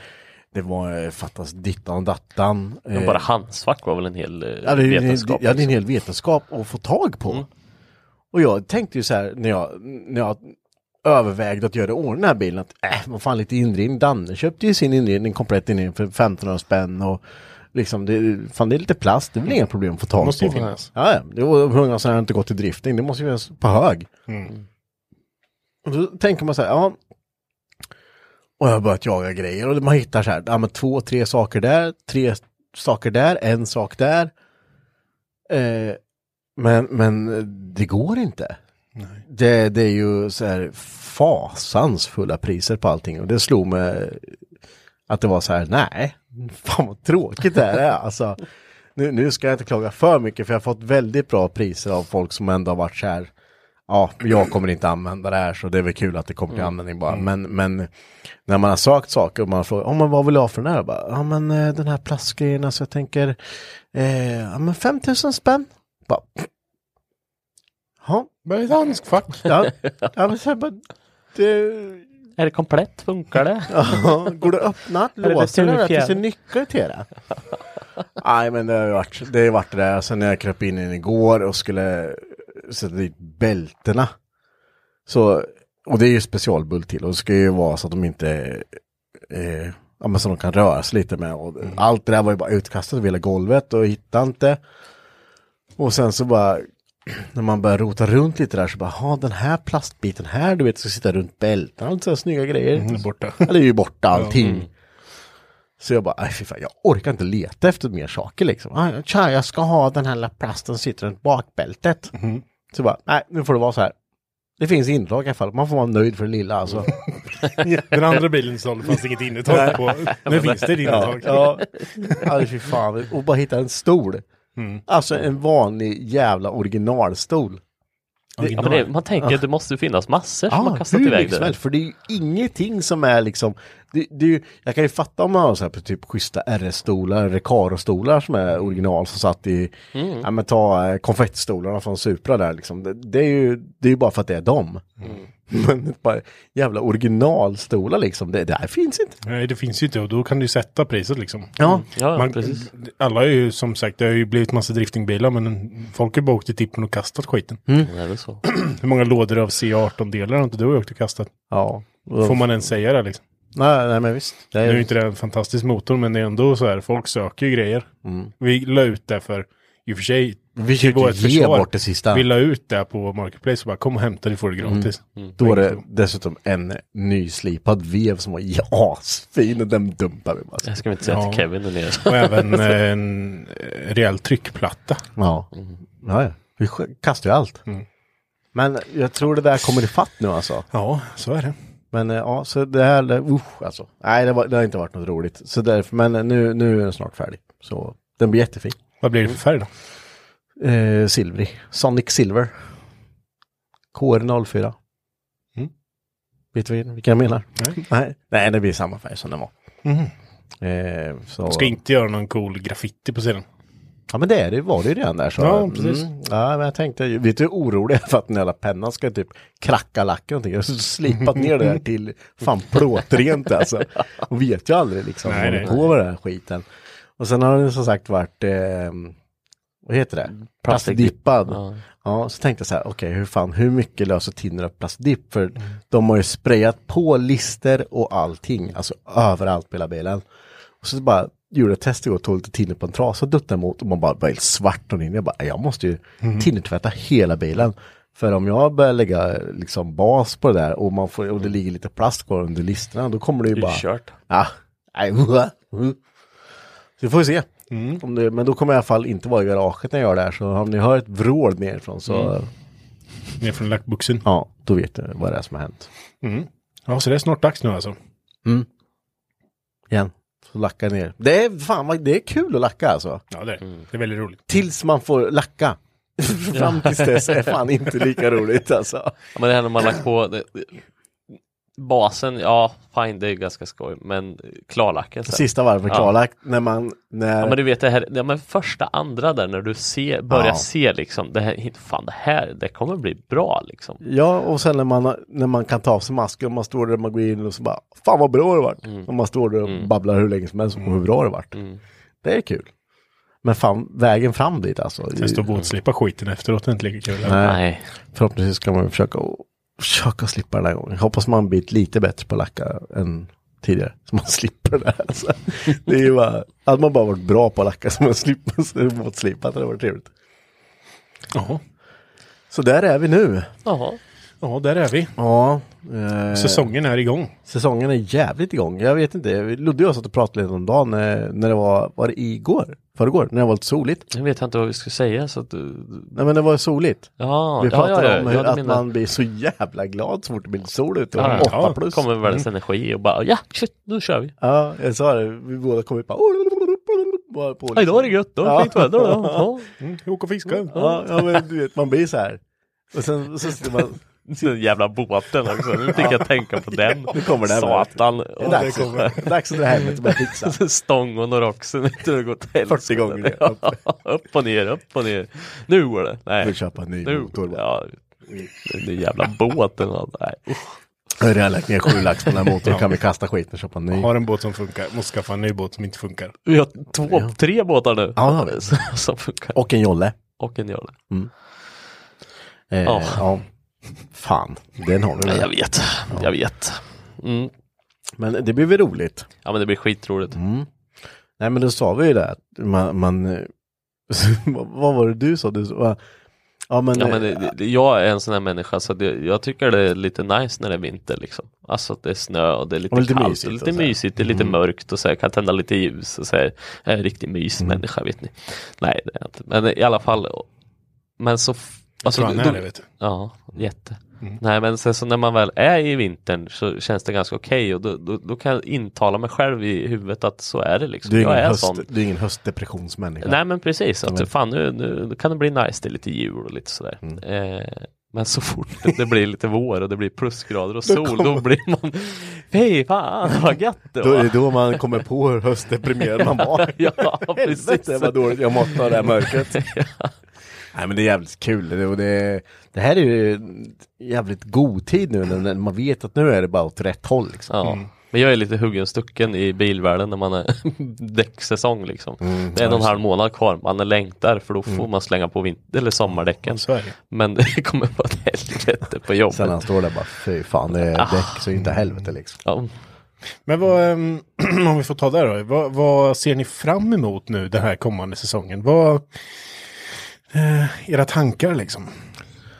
det var eh, fattas dittan och dattan.
den. Bara handskfack var väl en hel eh,
Eh. Ja, det, är ju en-
vetenskap. liksom.
ja, det
liksom.
är en hel vetenskap att få tag på.
Mm.
Och jag tänkte ju så här när jag, när jag övervägde att göra i ordning den här bilen att äh, vad fan lite inredning. Danne köpte ju sin inredning, komplett inredning för 1500 spänn och liksom det, fan det är lite plast, det är väl inga problem att få tag
Måste ju
på.
finnas.
Ja, ja. det var hur många som har inte gått till drifting, det måste ju finnas på hög.
Mm.
Och då tänker man så här, ja. Och jag har börjat jaga grejer och man hittar så här, ja men två, tre saker där, tre saker där, en sak där. Eh, men, men det går inte. Det, det är ju så här fasansfulla priser på allting och det slog mig att det var så här, nej, <laughs> fan vad tråkigt det här är alltså. Nu, nu ska jag inte klaga för mycket för jag har fått väldigt bra priser av folk som ändå har varit så här, ja, jag kommer inte använda det här så det är väl kul att det kommer till användning bara. Men, men när man har sökt saker och man frågar, oh, men vad vill du ha för den här? Jag Bara, ja men eh, den här plastgrejen, alltså jag tänker, eh, ja men 5000 spänn. Bara, ja,
Men det är handskfack.
ja, ja men så här bara, det,
Är det komplett? Funkar det?
Ja, Går det att öppna låsen eller
returfjäder?
finns det nyckel till det? Nej men det har ju varit det, har ju varit det där. Sen när jag kröp in i den igår och skulle sätta dit bältena. Så, och det är ju specialbult till och det ska ju vara så att de inte eh, ja, men som de kan röra sig lite med. Och Allt det där var ju bara utkastat över hela golvet och hittade inte. Och sen så bara, <clears throat> när man börjar rota runt lite där så bara, ha den här plastbiten här, du vet, ska sitta runt bälten, allt sådana snygga grejer.
Den är borta.
Ja, det är ju borta allting.
Mm.
Så jag bara, "Aj, fy fan, jag orkar inte leta efter mer saker liksom. "Aj, Tja, jag ska ha den här lilla plasten som sitter runt bakbältet.
Mm-hmm.
Så bara, nej, nu får det vara så här. Det finns inlag i alla fall, man får vara nöjd för det lilla alltså.
<laughs> Den andra bilen sålde fanns inget innertak på. Nu finns det ett
ja,
innertak.
ja. Alltså, fy fan, och bara hitta en stol.
Mm.
Alltså en vanlig jävla originalstol.
Ja, men det, man tänker att det måste ju finnas massor som har kastat
Ah, hur
iväg
mycket som
det.
helst, För det är ju ingenting som är liksom, det, det är ju, jag kan ju fatta om man har så här på typ schyssta RS-stolar, Recaro-stolar som är original som satt i,
Mm.
ja men ta eh, konfettstolarna från Supra där liksom. Det, det är ju, det är ju bara för att det är dem.
Mm.
<laughs> Men bara jävla originalstolar liksom, det, det här finns inte.
Nej, det finns ju inte och då kan du ju sätta priset liksom.
Ja,
Ja,
Man,
precis.
alla är ju som sagt, det har ju blivit massa driftingbilar men folk har ju bara åkt till tippen och kastat skiten.
Mm.
Det är väl så.
Hur många lådor av C18-delar har inte du åkt och kastat?
ja.
Får man ens säga det liksom?
Nej, nej men visst. Det
Nu
är
är ju inte det en fantastisk motor men det är ändå så här, folk söker ju grejer. Vi la ut det för, i och för sig,
Vi försökte
vårt
Mm. ge
försvar,
bort det sista.
Vi la ut det på Marketplace och bara kom och hämta det, får det gratis.
Mm. Då var det dessutom en nyslipad vev som var <laughs> asfin och den dumpade vi bara.
Jag ska väl inte säga till Kevin där nere.
Och även eh, en eh, rejäl tryckplatta.
Ja. Mm. ja, ja. Vi sk- kastar ju allt.
Mm.
Men jag tror det där kommer ifatt nu alltså.
Ja, så är det.
Men eh, ja, så det här, det, usch alltså. Nej, det, var, det har inte varit något roligt. Så därför, men eh, nu, nu är den snart färdig. Så den blir jättefin.
Vad blir det för färg då?
Eh, silvrig. Sonic Silver. KR04. Vet du vilken jag menar?
Mm. Nej. Mm.
Nej. Nej, det blir samma färg som den var. Eh, så...
Ska inte göra någon cool graffiti på sidan.
Ja men det, är det var det ju redan där. Så.
Ja, precis.
Mm. Ja, men jag tänkte, vet du hur orolig jag är för att den jävla pennan ska typ kracka lacken och någonting. Jag har slipat ner det där till fan plåtrent alltså. Och vet ju aldrig liksom
Nej,
vad håller
nej.
på med den här skiten. Och sen har den som sagt varit, eh, vad heter det? Plastdippad. Ja. så tänkte jag så här, okej hur fan, hur mycket löser Tinder upp plastdipp? För de har ju sprayat på lister och allting, alltså överallt på hela bilen. Och så bara gjorde jag ett test igår, tog lite tinner på en trasa, duttade emot och man bara var helt svart och in. Jag bara, jag måste ju tinnertvätta hela bilen. För om jag börjar lägga liksom bas på det där och, man får, och det ligger lite plast kvar under listerna, då kommer <laughs> det ju
Det är
bara...
kört.
Ja. Nej, <laughs> uh, uh. Så vi får vi se. Om det, men då kommer jag i alla fall inte vara i garaget när jag gör det här. Så om ni hör ett vrål nerifrån så
Ner från lackboxen.
ja, då vet ni vad det är som har hänt.
Ja, så det är snart dags nu alltså.
Igen. Så lacka ner. Det är fan vad, det är kul att lacka alltså.
Ja, det är, det är väldigt roligt.
Tills man får lacka. <laughs> Fram tills dess är fan inte lika roligt alltså.
Ja, men det här när man lagt på det, det- basen, ja fine det är ganska skoj men klarlacken sen.
Sista varvet
Ja.
klarlagt när man, när,
Ja men du vet det här, ja, men första andra där när du ser, börjar
Ja.
se liksom, det här, fan det här, det kommer bli bra liksom.
ja och sen när man, har- när man kan ta av sig masken och man står där man går in och så bara, fan vad bra det vart. Och man står där och babblar hur länge som helst om hur bra det vart. Det är kul. Men fan, vägen fram dit alltså.
Testa att våtslipa skiten efteråt, det är inte lika kul.
Nej.
Förhoppningsvis kan man försöka, försöka slippa den här gången. Hoppas man blivit lite bättre på att lacka än tidigare. Så man <laughs> slipper det här. Alltså. Det är ju bara, hade man bara varit bra på att lacka så man slipper våtslipat, det hade varit trevligt.
Ja,
Så där är vi nu.
Jaha.
ja där är vi.
Ja. Eh,
Säsongen är igång.
säsongen är jävligt igång. Jag vet inte, Ludde och jag satt och pratade lite om dagen när, när det var, var det igår? Förrgår? När det var lite soligt?
Nu vet jag inte vad vi ska säga så att du,
Nej men det var soligt.
ja,
Vi
ja, ja,
pratade
ja,
om
ja,
hur,
du
att
menar-
man blir så jävla glad så fort det blir sol ute.
Ja,
Ja,
ja.
8
Ja,
plus.
kommer världens energi och bara ja, shit, nu kör vi.
Mm. Ja, jag sa det. Vi båda kom upp bara... bara på
Ja, idag är det gött, då är det
Ja.
fint
<laughs>
väder. då. Ja.
Mm, åk och fiska.
Ja, ja, men du vet, man blir så här. Och sen så sitter man...
Den jävla båten också, nu fick jag tänka på den.
Nu kommer den.
Satan.
Det är dags, det är dags att dra hem och börja fixa.
Stång och Noroxen, vet du, det går åt helvete.
40 gånger ner.
<laughs> upp och ner, upp och ner. Nu går det. Nej.
Vill köpa en ny
nu,
motor bara.
Ja, den där jävla båten. och- Nej.
Jag har redan lagt ner sju lax på den här motorn. Kan vi kasta skiten och köpa en ny?
Har en båt som funkar, måste skaffa en ny båt som inte funkar.
Vi har två, tre båtar nu.
Ja, det har vi.
Som funkar.
Och en jolle.
Och en jolle.
Eh,
Ja.
ja. Fan, den har du
Nej,
väl?
Jag vet, jag vet. Mm.
Men det blir väl roligt.
Ja men det blir skitroligt.
Nej men då sa vi ju det, att man, man eh, vad var det du sa? Du sa, ja men,
Ja, men
eh,
det, det, jag är en sån här människa så det, jag tycker det är lite nice när det är vinter liksom. Alltså att det är snö och det är lite,
Och lite
kallt
mysigt och
och lite
så Mm. här.
mysigt, det är lite mörkt och så här, kan tända lite ljus och så här. Jag är en riktig mysmänniska
Mm.
vet ni. Nej det är jag inte, men i alla fall. Men så... f- alltså,
Jag tror han
då-
är det vet du.
Ja, jätte.
Mm.
Nej men sen så när man väl är i vintern så känns det ganska okej och då, då, då kan jag intala mig själv i huvudet att så är det liksom.
du, är ingen
jag är
höst,
sån.
du är ingen höstdepressionsmänniska.
Nej men precis,
Ja,
att
men- Mm.
fan nu, nu nu kan det bli nice, det är lite jul och lite sådär. Eh, men så fort <laughs> det, det blir lite vår och det blir plusgrader och sol då blir man,
<laughs>
hej fan vad gött det
Då är det då
var.
man kommer på hur höstdeprimerad man var.
<laughs> Ja,
<laughs> Helvete
precis.
vad dåligt jag mått av det här
<laughs>
mörkret. Nej men det är jävligt kul. Det, och det, det här är ju jävligt god tid nu när, när man vet att nu är det bara åt rätt håll. Liksom.
Ja. Men jag är lite huggen och stucken i bilvärlden när man är <laughs> däcksäsong liksom.
Mm,
det är en och en halv månad kvar, man är längtar för då får man slänga på vinter eller sommardäcken.
Från Sverige.
Men <laughs> det kommer vara ett helvete på jobbet.
Sen han står där bara, fy fan det är
Ah.
däck så inte helvete liksom.
Ja.
Men vad, ehm, <clears throat> om vi får ta det då, vad, vad ser ni fram emot nu den här kommande säsongen? Vad, eh, era tankar liksom?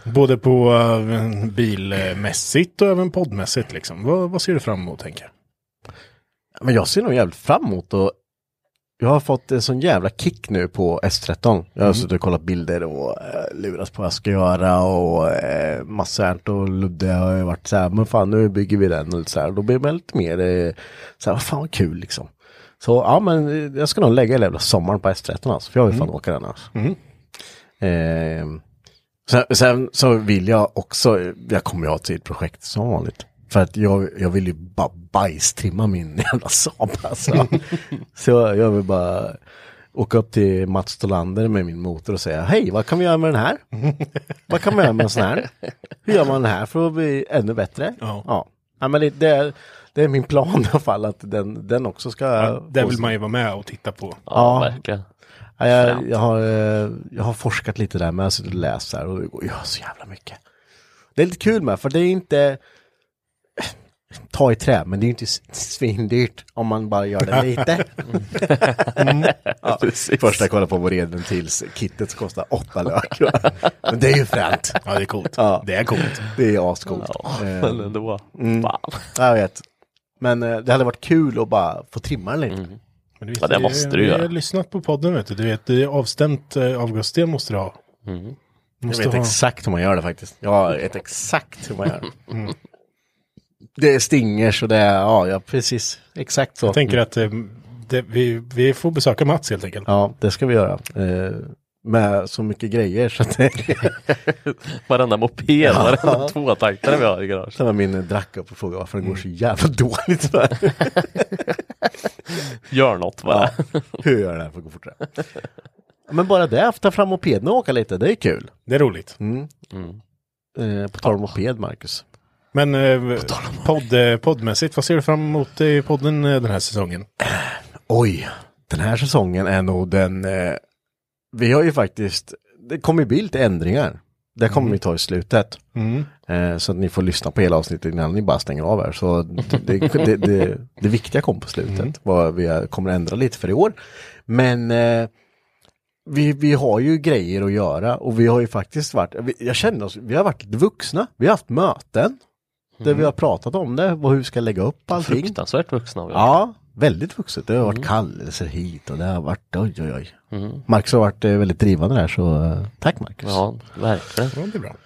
Både på eh, bilmässigt och även poddmässigt liksom. Vad, vad ser du fram emot tänker jag?
Men jag ser nog jävligt fram emot och jag har fått en sån jävla kick nu på S13. Jag har
Mm.
suttit och kollat bilder och eh, luras på vad jag ska göra och eh, massa sånt och Ludde har ju varit så här, men fan nu bygger vi den och lite så här. Då blir man lite mer eh, så här, vad fan vad kul liksom. Så ja men eh, jag ska nog lägga hela jävla sommaren på S13 alltså, för jag vill
Mm.
fan åka den alltså. Eh, sen, sen så vill jag också, jag kommer ju ha ett till projekt som vanligt. För att jag, jag vill ju bara bajstrimma min <laughs> jävla Saab alltså. Så jag vill bara åka upp till Mats Tolander med min motor och säga hej, vad kan vi göra med den här? vad kan man göra med en sån här? Hur gör man den här för att bli ännu bättre?
Ja.
ja. Ja, men det, det, är, det är min plan i alla fall att den, den också ska...
Där
få-
vill man ju vara med och titta på.
Ja.
Ja, verkligen.
Ja, jag,
Främt.
jag, har, eh, jag har forskat lite där men jag har suttit och läst där och det går ja, så jävla mycket. Det är lite kul med för det är inte eh, ta i trä men det är inte s- svindyrt om man bara gör det lite.
Ja, <laughs>
<laughs>
precis.
Första jag kollade på var redventilskittet som kostar åtta lök. <laughs> men det är ju fränt.
Ja, det är coolt.
<laughs> Ja.
Det är coolt.
Det är ascoolt.
Ja,
Eh, <laughs>
men ändå.
Mm.
Fan.
ja, jag vet. Men eh, det hade varit kul att bara få trimma den lite.
Men du vet,
Ja, det måste du
vi har
göra.
lyssnat på podden vet du. Du vet, det är avstämt eh, avgassystem måste du ha.
Jag
Måste
vet
ha.
exakt hur man gör det faktiskt. Jag vet exakt hur man gör det.
Mm.
Det är stingers och det är, ja, ja precis. Exakt så.
Jag tänker
Mm.
att eh, det, vi, vi får besöka Mats helt enkelt.
Ja, det ska vi göra. Eh, med så mycket grejer så att det
<laughs>
Varenda moped, varenda tvåtaktare vi har i garaget.
Sen var min drack upp och frågade varför det går
Mm.
så jävla dåligt.
<laughs>
För.
Gör något bara.
Ja, hur gör jag det här för att gå fortare? Men bara det, att ta fram mopeden och åka lite, det är kul. Mm.
Det är roligt. Mm.
Eh, på tal om moped, Marcus.
Men eh, podd, eh, poddmässigt, vad ser du fram emot i podden eh, den här säsongen?
Oj, den här säsongen är nog den... Eh, vi har ju faktiskt... Det kommer ju bli lite ändringar. Det kommer vi ta i slutet. Eh, så att ni får lyssna på hela avsnittet innan ni bara stänger av här. Så det, det, det, det, det viktiga kom på slutet. Vad vi är- kommer att ändra lite för i år. Men eh, vi, vi har ju grejer att göra och vi har ju faktiskt varit... vi- Jag känner oss... Vi har varit lite vuxna. Vi har haft möten. Där vi har pratat om det, vad- hur vi ska lägga upp allting.
Fruktansvärt vuxna har vi varit.
Ja, väldigt vuxet. Det har varit kallelser hit och det har varit oj oj oj. Marcus har varit eh, väldigt drivande där så eh, tack Marcus.
Ja, verkligen.
Ja, det är bra.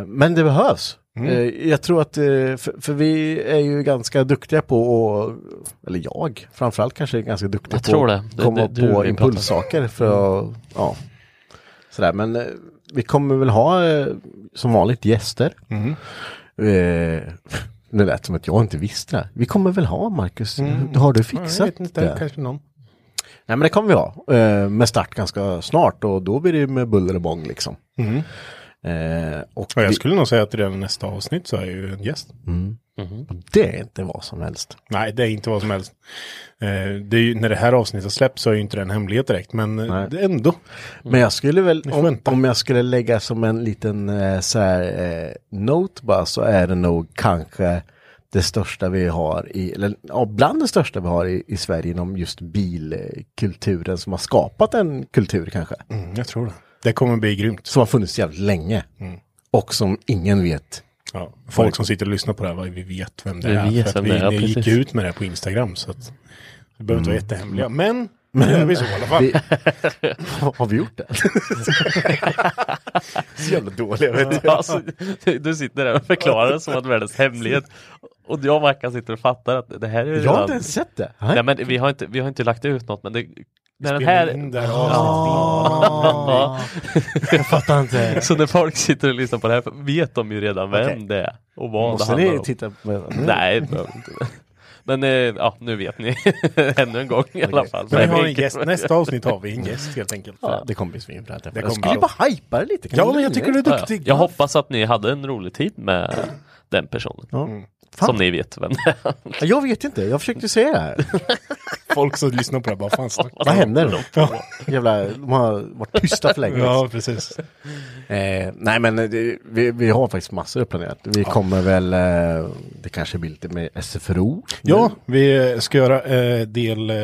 Eh, men det behövs.
Mm.
Eh, jag tror att, eh, för, för vi är ju ganska duktiga på, att- eller jag framförallt kanske är ganska duktig
Jag
på
tror det.
att
Det-
komma
det- du
på
vi
impulssaker för att, ja, sådär. Men eh, vi kommer väl ha eh, som vanligt gäster.
Mm.
Eh, <laughs> det lät som att jag inte visste det. Vi kommer väl ha Marcus, har du fixat
Mm. jag vet inte,
det?
kanske någon.
Nej men det kommer vi ha. Eh, med start ganska snart och då blir det ju med buller och bång liksom.
Mm.
Eh, och
Ja, jag
vi-
skulle nog säga att redan nästa avsnitt så är ju en gäst.
det är inte vad som helst.
Nej, det är inte vad som helst. Eh, det är ju, när det här avsnittet släpps så är ju inte den hemlighet direkt, men eh,
Nej.
det är ändå.
Men jag skulle väl,
Vi får
om,
vänta.
om jag skulle lägga som en liten eh, så här, eh, note bara så är det nog kanske det största vi har i, eller ja, bland det största vi har i, i Sverige inom just bilkulturen som har skapat en kultur kanske.
Mm, jag tror det. Det kommer bli grymt.
Som har funnits jävligt länge. Och som ingen vet.
Ja, folk som sitter och lyssnar på det här, vad- vi vet vem det
Vi
är.
vet
för att
vem det är,
vi,
ja,
vi gick
precis.
ut med det här på Instagram så att vi behöver inte vara jättehemliga. Men nu gör vi så i alla fall.
Vi, <laughs> har vi <laughs> gjort det? Så jävla dåliga vet du.
Alltså, du sitter där och förklarar det som att världens hemlighet. Och jag och Mackan sitter och fattar att det här är
Jag har
redan-
inte ens sett det.
Nej men vi har inte, vi har inte lagt ut något men det... När den
Spelar
här...
in det här
<laughs>
Ah. jag fattar inte.
Så när folk sitter och lyssnar på det här vet de ju redan vem
Okej.
det är och vad det
Måste
handlar
ni
om.
titta på Mm.
Nej, det behöver vi inte. Men eh, ja, nu vet ni. <laughs> Ännu en gång i alla fall.
Men vi har en
Nej,
gäst. Nästa avsnitt har vi en gäst helt enkelt.
Ja, det kommer bli svinbra. Jag
kommer
skulle ju
bli-
bara hypa det lite. Kan
Ja,
ni-
men jag tycker du är
Ja, ja.
duktig.
Jag hoppas att ni hade en rolig tid med den personen.
Ja. Fan.
Som ni vet vem det är.
Jag vet inte, jag försökte säga det här.
Folk som lyssnar på det här bara, fan snackar
Vad händer?
Ja.
<laughs> Jävla, de har varit tysta för länge.
<laughs> ja, precis.
Eh, nej men eh, det, vi, vi har faktiskt massor uppplanerat. Vi kommer väl, eh, det kanske blir lite med SFRO. nu.
Ja, vi eh, ska göra eh, del eh,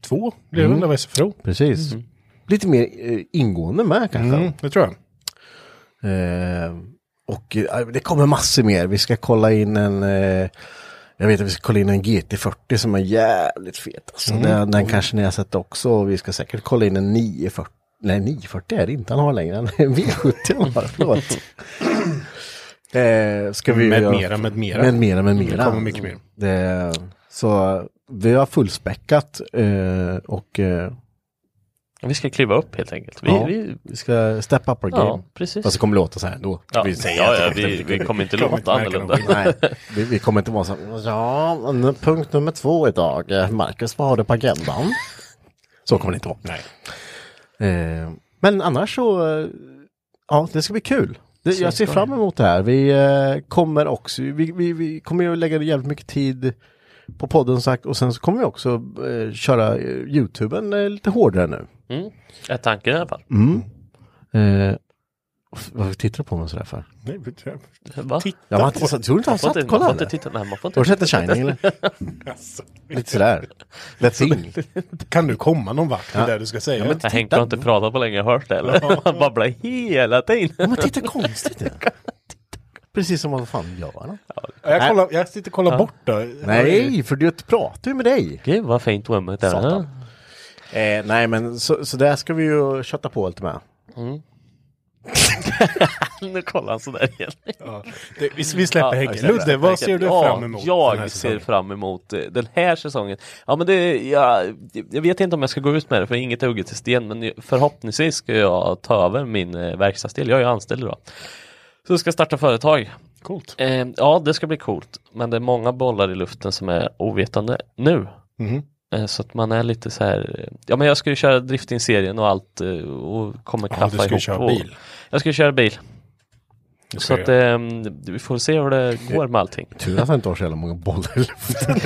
två, blir det väl, av SFRO?
Precis. Lite mer eh, ingående med kanske.
Mm, det tror jag.
Eh, och eh, det kommer massor mer. Vi ska kolla in en eh, jag vet att vi ska kolla in en GT40 som är jävligt fet. Alltså,
Mm.
den, den kanske ni har sett också. Och Vi ska säkert kolla in en 940. Nej, 940 är det inte han har längre. En V70 han har,
<laughs>
förlåt. eh, ska vi
Med
göra-
mera, med mera.
Med mera, med
Det
mera.
kommer mycket mer.
Det, så vi har fullspäckat eh, och eh,
<laughs> Vi ska kliva upp helt enkelt. Vi,
ja,
vi,
vi ska step up our game.
ja precis.
Fast det kommer låta så här ändå.
Ja,
Vi
vi,
säger
ja,
att det kanske
ja, vi,
inte blir
vi kommer inte
kommer
låta
inte märka
annorlunda.
Nej, <laughs> vi, vi kommer inte vara så här, ja, nu, punkt nummer två idag. Eh, Marcus, vad har du på agendan? Så kommer det inte vara.
Nej.
Eh, men annars så, eh, ja, det ska bli kul. Det, jag ser fram emot det här. Vi eh, kommer också, vi, vi, vi kommer ju lägga jävligt mycket tid på podden sagt och sen så kommer vi också eh, köra eh, Youtuben eh, lite hårdare nu.
Mm. Är tanken i alla fall.
Eh, vad tittar du på mig sådär för?
Nej, vi tror jag-
Va?
Mm. Jag har inte, tror du inte han
Man får
satt
inte,
och
man får
kollade?
inte titta. Nej, man får inte
Har du sett The Shining eller? <laughs> Lite sådär. Let's in.
Kan du komma någon vart med det du ska säga?
Nej, Henke har inte pratat på länge, jag har hört det <laughs> eller? Han babblar hela tiden.
Men titta konstigt nu. Precis som vad fan gör han?
jag, kollar, jag sitter och kollar bort då.
Nej, för du pratar ju med dig.
Gud vad fint rummet är.
Satan.
Satan.
Eh, nej, men så, så där ska vi ju kötta på lite med.
Nu kollar han sådär igen.
Det, vi, vi släpper
Ja,
Henke.
jag släpper
Ludde, vad
Henke.
ser du
ja,
fram emot? den här
Jag ser
säsongen?
fram emot eh, den här säsongen. Ja, men det, jag, jag vet inte om jag ska gå ut med det för inget är hugget i sten men förhoppningsvis ska jag ta över min eh, verkstadsdel. Jag är ju anställd idag. Så jag ska starta företag.
Coolt.
Eh, ja, det ska bli coolt. Men det är många bollar i luften som är ovetande nu.
Mhm.
Eh, Så att man är lite så här, eh, ja men jag ska ju köra drifting-serien och allt eh, och kommer
Ja,
klaffa
du ska ju
ihop.
köra
och,
bil.
Jag ska ju köra bil.
Det
Så
ska
att
jag.
ehm, vi får se hur det går med allting.
Tur att han inte har så jävla många bollar i luften.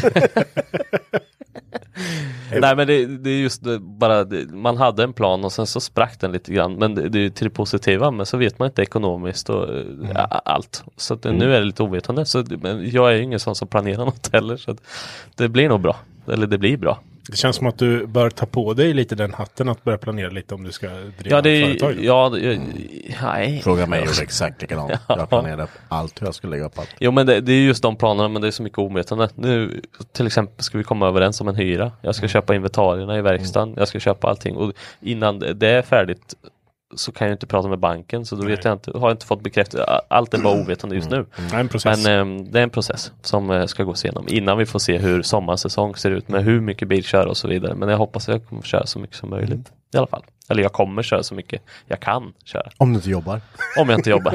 Nej men det, det är just det, bara det, man hade en plan och sen så sprack den lite grann men det, det är ju till det positiva men så vet man inte ekonomiskt och eh, a- a- allt. Så att, eh, nu är det lite ovetande så det- men jag är ju ingen sån som planerar <laughs> något heller så att det blir nog bra. Eller det blir bra.
Det känns som att du bör ta på dig lite den hatten att börja planera lite om du ska driva
Ja det är
företag. då.
ja, det- nej.
Fråga mig gjorde exakt likadant. Jag planerade upp allt hur jag skulle lägga upp allt.
Jo men det, det är just de planerna men det är så mycket ovetande. Nu till exempel ska vi komma överens om en hyra. Jag ska köpa inventarierna i verkstaden. Jag ska köpa allting och innan det det är färdigt så kan jag ju inte prata med banken så då vet jag inte, har jag inte fått bekräftat. A- Allt är bara ovetande just nu.
Mm.
Nej, en process.
Men
eh,
ehm, det är en process som eh, ska gås igenom innan vi får se hur sommarsäsong ser ut med hur mycket bilkör och så vidare. Men jag hoppas att jag kommer köra så mycket som möjligt i alla fall. Eller jag kommer köra så mycket jag kan köra.
Om du inte jobbar.
Om jag inte jobbar.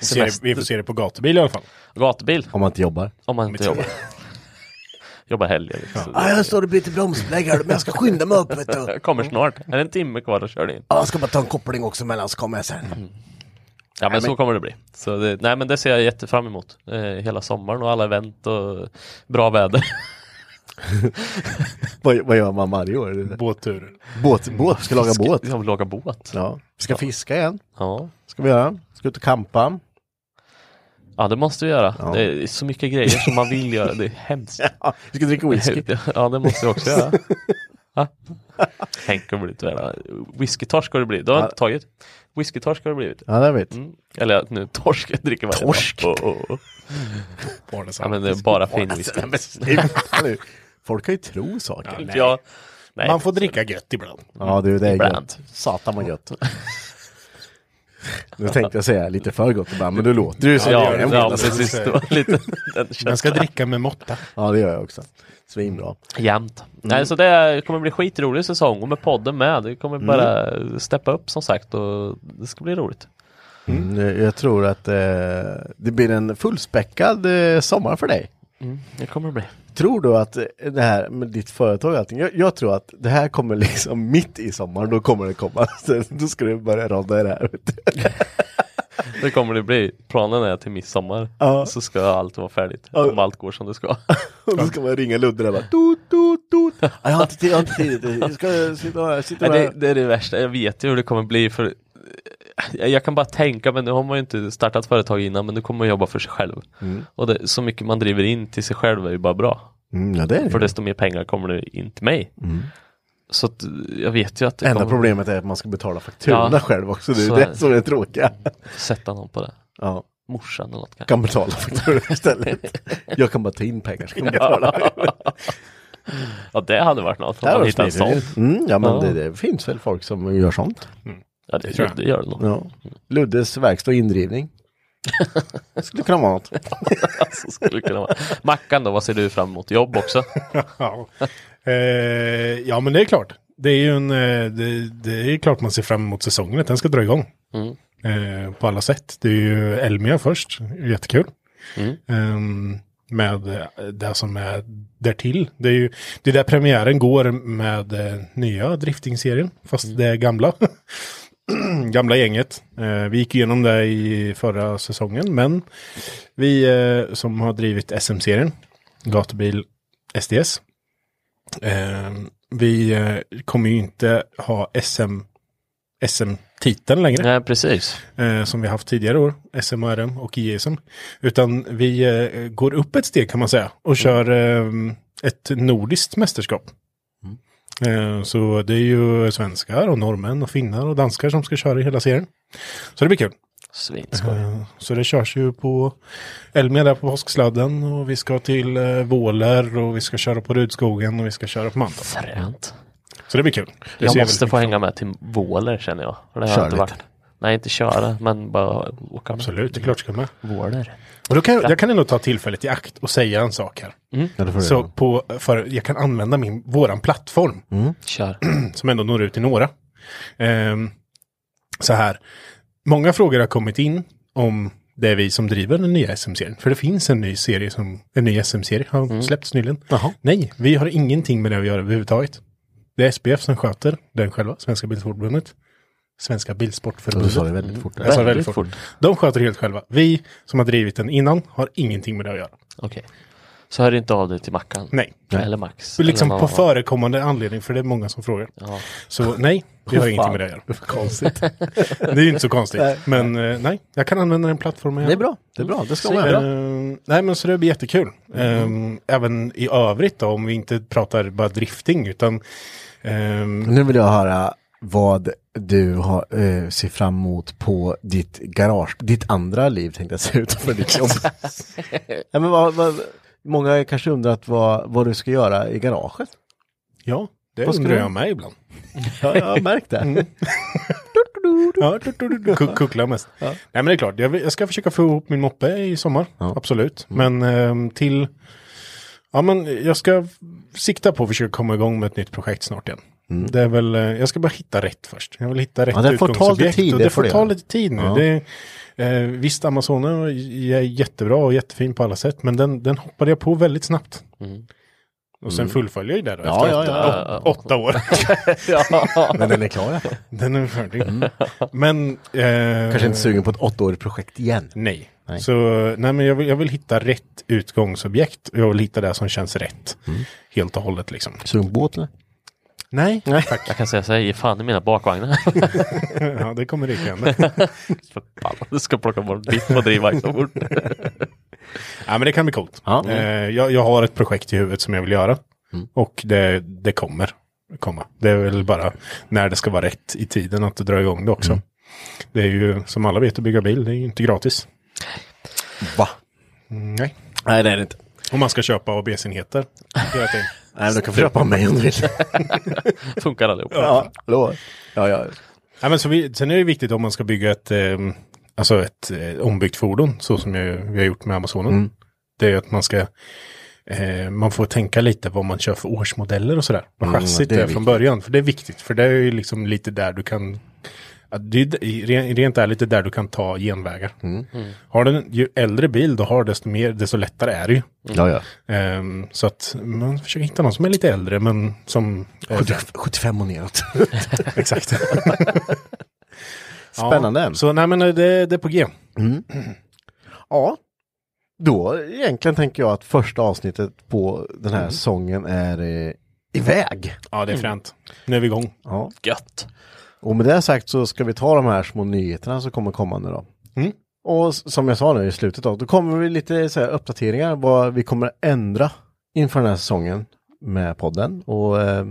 Vi ser det- vi får se det på gatubil i alla fall.
Gatubil.
Om man inte jobbar.
Om man inte jobbar. jobbar helger. Liksom.
Ah, jag står och byter bromsbläggar men jag ska skynda mig upp vet du.
Jag kommer snart. Är det en timme kvar att köra in?
Ah, jag ska bara ta en koppling också mellan så kommer jag sen.
Ja men så kommer det bli. Så det, nej men det ser jag jättefram emot. Eh, hela sommaren och alla event och bra väder.
Vad, vad gör man varje år?
Båttur.
Båt, båt, <laughs> ska laga båt.
Jag vill laga båt.
Ja. Ska fiska igen.
Ja.
Ska vi göra. Ska ut och kampa.
Ja det måste vi göra.
Ja.
Det är så mycket grejer som man vill göra. Det är hemskt.
Ja, vi ska dricka whisky.
ja <laughs> det måste jag
<laughs>
också göra. Ja. Tänk om det blir tvärna. Whiskytorsk har det blivit. Det har jag inte tagit. Whiskytorsk har det blivit.
Ja, det vet
Mm. Eller nu torsk jag dricker varje dag.
Torsk?
Oh, oh, oh.
Bara så.
Ja men det är bara fin whisky.
Men sluta nu. Folk kan ju tro saker.
Ja. Nej.
Man får dricka gött ibland.
Ja du, det är
Ibland.
gött. Satan vad gött. Nu tänkte jag säga lite för gott ibland, men du låter ju som
Ja,
ja,
ja,
en
ja
ja,
precis. Det var lite <laughs>
Man
den
ska
känslan.
dricka med måtta.
ja, det gör jag också. Svinbra.
Jämt. Nej, så det kommer bli skitrolig säsong och med podden med. Det kommer bara steppa upp som sagt och det ska bli roligt.
Mm. Jag tror att eh, det blir en fullspäckad eh, sommar för dig.
Det kommer det bli.
Tror du att eh, det här med ditt företag och allting, jag, jag tror att det här kommer liksom <laughs> mitt i sommaren, då kommer det komma. <laughs> Sen- Då ska du börja rodda i det här. Vet du.
Det kommer det bli. Planen är till midsommar
Ja.
så ska allt vara färdigt.
Ja.
Om allt går som det ska.
<laughs> Och då ska man ringa Ludde där och bara, tut, tut,
<laughs>
tut. Nej, Jag har inte tid, jag har inte tid. Jag ska sitta här, sitta
Nej, det,
här.
det är det värsta. Jag vet ju hur det kommer bli för eh, jag jag kan bara tänka, men nu har man ju inte startat företag innan, men nu kommer man jobba för sig själv. Och det, så mycket man driver in till sig själv är ju bara bra.
Mm, ja, det är
För
det.
desto mer pengar kommer det in till mig. Så att, jag vet ju att det
Enda
kommer
problemet är att man ska betala fakturorna
Ja.
själv också. Det är
Så är det.
det som är tråkiga.
sätta någon på det.
Ja,
Morsan eller
<laughs>
något kanske.
kan betala fakturorna istället. Jag kan bara ta in pengar. så Kan jag
<laughs>
betala.
Ja det hade varit något om
Där
man
har
hittade en sån.
smidigt. Mm, ja, men
Ja.
Det, det finns väl folk som gör sånt.
Ja det, det, gör det nog.
Ja. Luddes verkstad och <laughs> indrivning. Skulle kunna vara något.
Så skulle det kunna vara. Mackan då, vad ser du fram emot?
<laughs>
Jobb också?
Ja. Eh, ja, men det är klart. Det är ju en, eh, det, det är klart man ser fram emot säsongen, att den ska dra igång. Eh, på alla sätt. Det är ju Elmia först, jättekul. Ehm, med eh, det som är därtill. Det är ju det är där premiären går med eh, nya driftingserien, fast det är gamla. <clears throat> gamla gänget. Eh, vi gick igenom det i förra säsongen, men vi eh, som har drivit SM-serien, gatubil SDS, eh, vi eh, kommer ju inte ha SM, SM-titeln längre
Nej precis.
eh, som vi haft tidigare år, SM och RM och ISM. Utan vi eh, går upp ett steg kan man säga
Mm.
och kör eh, ett nordiskt mästerskap.
Mm.
Eh, så det är ju svenskar och norrmän och finnar och danskar som ska köra i hela serien. Så det blir kul.
Svinskoj.
Eh, Så det körs ju på Elmia där på påsksladden och vi ska till eh, Våler och vi ska köra på Rudskogen och vi ska köra på Mantorp.
Fränt.
Så det blir kul. Det
Jag
ser jag
måste
väl- liksom-
få hänga med till Våler känner jag. För Det har
Kör
jag inte
lite.
varit. Nej inte köra men bara åka med.
Absolut, det är klart ska med.
Våler.
Och då kan, jag- jag kan ändå ta tillfället i akt och säga en sak här.
Mm. Ja, det får du
Så
göra.
på, för jag kan använda min, våran plattform
Kör.
Mm.
<clears throat> som ändå når ut till några. Ehm, så här, många frågor har kommit in om det är vi som driver den nya SM-serien. För det finns en ny serie som, en ny SM-serie har
Mm.
släppts nyligen. Nej, vi har ingenting med det att göra överhuvudtaget. Det är SPF som sköter den själva, Svenska Bilsportförbundet.
du sa
Svenska
det
Bilsportförbundet.
väldigt fort.
Jag sa det
Väldigt
väldigt fort. De sköter helt själva. Vi som har drivit den innan har ingenting med det att göra.
Okej. Så hör inte av dig till Mackan.
Nej.
Eller Max.
Liksom
eller
på
någon annan.
förekommande anledning, för det är många som frågar.
Ja.
Så nej, vi har ingenting
fan.
med det att göra.
Konstigt.
<laughs> Det är ju inte så konstigt.
Nej.
Men eh, nej, jag kan använda den plattformen.
Det är bra. Det är bra. Det ska vara bra. Mm.
Eh, nej, men så det blir jättekul. Eh, även i övrigt då, om vi inte pratar bara drifting, utan ehm,
Nu vill jag höra vad du har, eh, ser fram emot på ditt garage, ditt andra liv tänkte jag säga utanför ditt <laughs> jobb. ja, men vad, vad, många har kanske undrat vad, vad du ska göra i garaget.
ja, det
Vad ska
undrar
du-
jag med ibland.
Ja, jag har märkt det.
Ja, du, du, du, du, ku- kuckla mest. Nej, men det är klart, jag, vill- jag ska försöka få ihop min moppe i sommar, absolut.
Mm.
Men ehm, till... Ja, men jag ska sikta på att försöka komma igång med ett nytt projekt snart igen. Det är väl, eh, jag ska bara hitta rätt först. Jag vill hitta rätt
Mm. Ja, det får ta lite
utgångsobjekt
tid,
och
det
det
får
får
det
ta
göra.
lite tid nu.
Ja.
Det, eh, visst, Amazonen är j- jättebra och jättefin på alla sätt, men den, den hoppade jag på väldigt snabbt. Och sen fullföljer jag ju det då,
Mm. Ja,
efter
ja,
åtta,
ja,
ja, ja.
<laughs>
åtta år.
<laughs> Men den är klar i alla fall.
den är färdig. Men... eh,
Kanske inte sugen på ett åttaårigt projekt igen.
Nej.
Nej.
Så nej, men jag vill, jag vill hitta rätt
Mm.
utgångsobjekt. Jag vill hitta det som känns rätt. Helt och hållet liksom.
Sugen på båt eller?
Nej,
Jag kan säga så här, ge fan i mina bakvagnar.
<laughs>
<laughs>
ja, det kommer inte
<laughs>
hända.
Förbannat, du ska plocka bort ditt på drivvagn så fort. <laughs>
Ja, men det kan bli coolt.
Ja. Mm.
Eh, jag, jag har ett projekt i huvudet som jag vill göra. Och det, det kommer komma. Det är väl bara när det ska vara rätt i tiden att dra igång det också.
Mm.
Det är ju, som alla vet, att bygga bil, det är ju inte gratis.
Va?
Mm, nej.
Nej, det är det inte.
Om man ska köpa ABS-enheter. Det är ett ting.
Nej, men du kan få köpa mig om du vill.
Funkar allihop.
Ja, hallå. Ja, ja.
Ja, men så vi, sen är det viktigt om man ska bygga ett, eh, alltså ett eh, ombyggt fordon, så som jag, vi har gjort med Amazonen.
Mm.
Det är ju att man ska, eh, man får tänka lite vad man kör för årsmodeller och sådär. Vad
Mm,
chassit
det
det
är
är, från
viktigt.
början, för det är viktigt. För det är ju liksom lite där du kan, ja, det är, ju- re- rent ärligt det är där du kan ta genvägar.
Mm.
Mm. Har du en, ju äldre bil du har, desto, mer, desto lättare är det ju.
ja, ja.
Ehm, så att man försöker hitta någon som är lite äldre, men som...
<laughs>
eh,
75 och neråt.
exakt.
Spännande.
Så nej men eh, det, det är på G.
Ja. Då egentligen tänker jag att första avsnittet på den här säsongen är eh, iväg.
Ja, det är fränt. Nu är vi igång.
Ja.
Gött.
Och med det sagt så ska vi ta de här små nyheterna som kommer komma nu då. Och s- som jag sa nu i slutet då, då kommer vi lite så här, uppdateringar vad vi kommer ändra inför den här säsongen med podden. Och eh,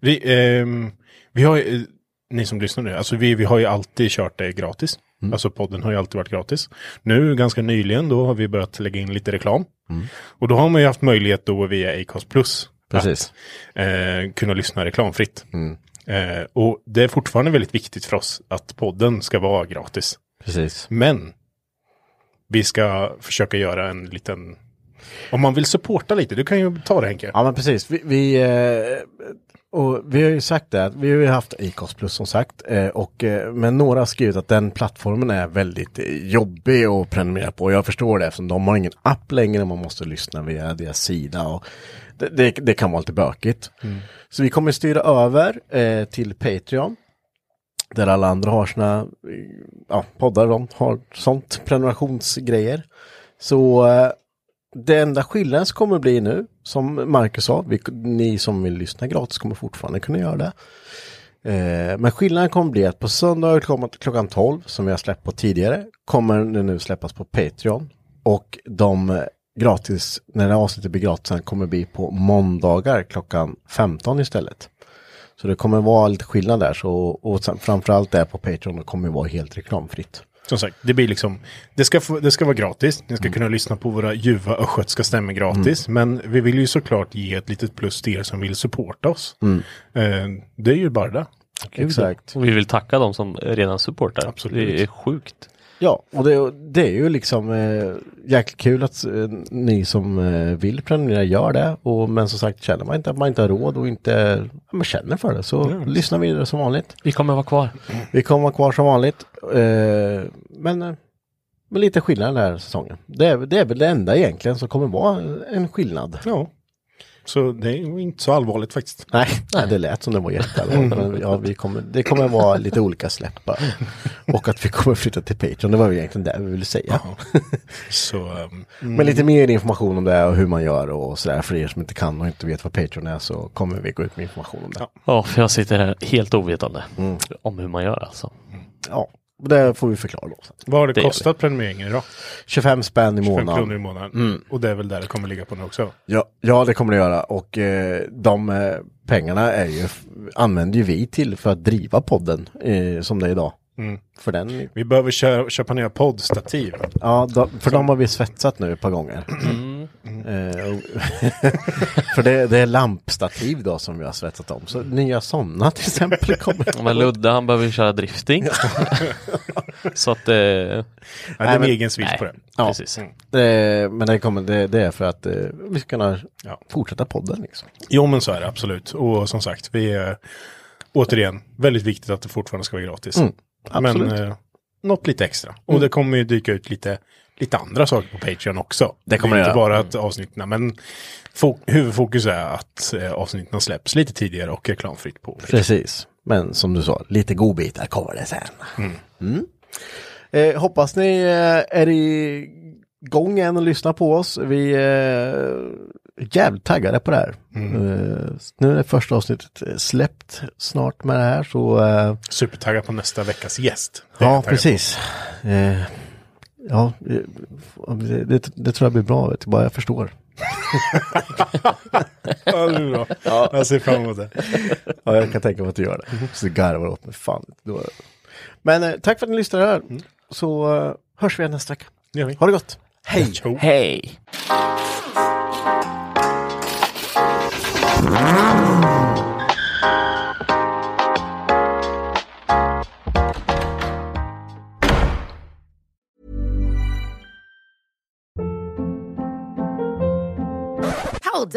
Vi, ehm, vi har ju, eh, ni som lyssnar nu, alltså vi, vi har ju alltid kört det gratis. Alltså podden har ju alltid varit gratis. Nu ganska nyligen då har vi börjat lägga in lite reklam. Och då har man ju haft möjlighet då via Acast Plus
Precis.
att eh, kunna lyssna reklamfritt. Eh, och det är fortfarande väldigt viktigt för oss att podden ska vara gratis.
precis.
Men vi ska försöka göra en liten... Om man vill supporta lite, du kan ju ta det Henke.
Ja men precis. Vi, vi, eh, och vi har ju sagt det, att vi har ju haft Acast Plus som sagt. eh, Och, eh, men några har skrivit att den plattformen är väldigt eh, jobbig att prenumerera på. Och jag förstår det eftersom de har ingen app längre. Man måste lyssna via deras sida. Och det, det, det kan vara lite bökigt. Så vi kommer styra över eh, till Patreon. Där alla andra har sina eh, ja, poddar, de har sånt prenumerationsgrejer. Så eh, det enda skillnaden som kommer bli nu, som Marcus sa, vi, ni som vill lyssna gratis kommer fortfarande kunna göra det. Eh, men skillnaden kommer bli att på söndag klockan- klockan 12, som vi har släppt på tidigare, kommer den nu släppas på Patreon. Och de eh, gratis, när det här avsnittet blir gratis, sen kommer bli på måndagar klockan 15 istället. Så det kommer vara lite skillnad där, så, och sen, framförallt där på Patreon det kommer det vara helt reklamfritt.
Som sagt, det blir liksom, det ska, få, det ska vara gratis, ni ska kunna lyssna på våra ljuva östgötska stämmor gratis, men vi vill ju såklart ge ett litet plus till er som vill supporta oss. Eh, det är ju bara det.
Exakt.
Och vi vill tacka de som redan supportar.
Absolut.
Det är sjukt.
Ja, och det, det är ju liksom eh, jäkligt kul att eh, ni som eh, vill prenumerera gör det. Och, men som sagt, känner man inte att man inte har råd och inte ja, men känner för det så lyssna vidare som vanligt.
Vi kommer vara kvar.
Vi kommer vara kvar som vanligt. Eh, men eh, med lite skillnad den här säsongen. Det är, det är väl det enda egentligen som kommer vara en skillnad.
Ja. Så det är ju inte så allvarligt faktiskt.
Nej, nej, det lät som det var jätteallvarligt. <laughs> Men ja, vi kommer, det kommer vara lite olika släppar. Och att vi kommer flytta till Patreon, det var ju egentligen det vi ville säga.
Så, ehm,
Men lite mer information om det och hur man gör och sådär. För er som inte kan och inte vet vad Patreon är så kommer vi gå ut med information om det. Ja,
Ja, för jag sitter här helt ovetande
Mm.
om hur man gör alltså.
och det får vi förklara då. sen.
vad har det,
Det gör
kostat prenumereringen idag?
25 spänn i
25
månaden.
kronor i månaden. Och det är väl där det kommer ligga på nu också.
Ja, ja, det kommer det göra. Och eh, de eh, pengarna är ju, använder ju vi till för att driva podden eh, som det är idag. För, den,
Vi behöver kö- köpa nya poddstativ.
ja, de, för dem har vi svetsat nu ett par gånger. Eh, och- <laughs> för det, det är lampstativ då som vi har svetsat om. Så nya sådana till exempel kommer.
Men Ludde han behöver ju köra drifting. så att eh,
Ja, det är en
men-
egen switch
nej.
på det.
Ja.
precis.
Eh, men det, kommer, det, det är för att eh, vi ska kunna
Ja.
fortsätta podden. Liksom.
Jo men så är det absolut. Och som sagt, vi är återigen väldigt viktigt att det fortfarande ska vara gratis.
Mm, absolut. Mm.
Men eh, något lite extra. Och det kommer ju dyka ut lite, lite andra saker på Patreon också.
Det kommer
det är
det
inte
göra.
bara att avsnitten, men fo- huvudfokus är att eh, avsnitten släpps lite tidigare och reklamfritt på Patreon.
Precis. Men som du sa, lite godbitar kommer det sen. Mm. Eh, hoppas ni eh, är igång än och lyssnar på oss. Vi eh, jävligt taggade på det här. Eh, nu är det första avsnittet eh, släppt snart med det här så eh,
Supertaggad på nästa veckas gäst. Det är
ja,
jag taggad
precis. Eh, ja, eh, det, det, det tror jag blir bra, vet du, bara jag förstår.
på. Ja, det är bra. Jag ser fram emot det.
Ja, jag kan tänka mig att du gör
Mhm.
det. Så garvar åt mig, fan. Då... Men eh, tack för att ni lyssnade här. Så eh, hörs vi igen nästa vecka.
Mm. Det gör vi.
Ha det gott! Hej!
Tjo.
Hej!
Hold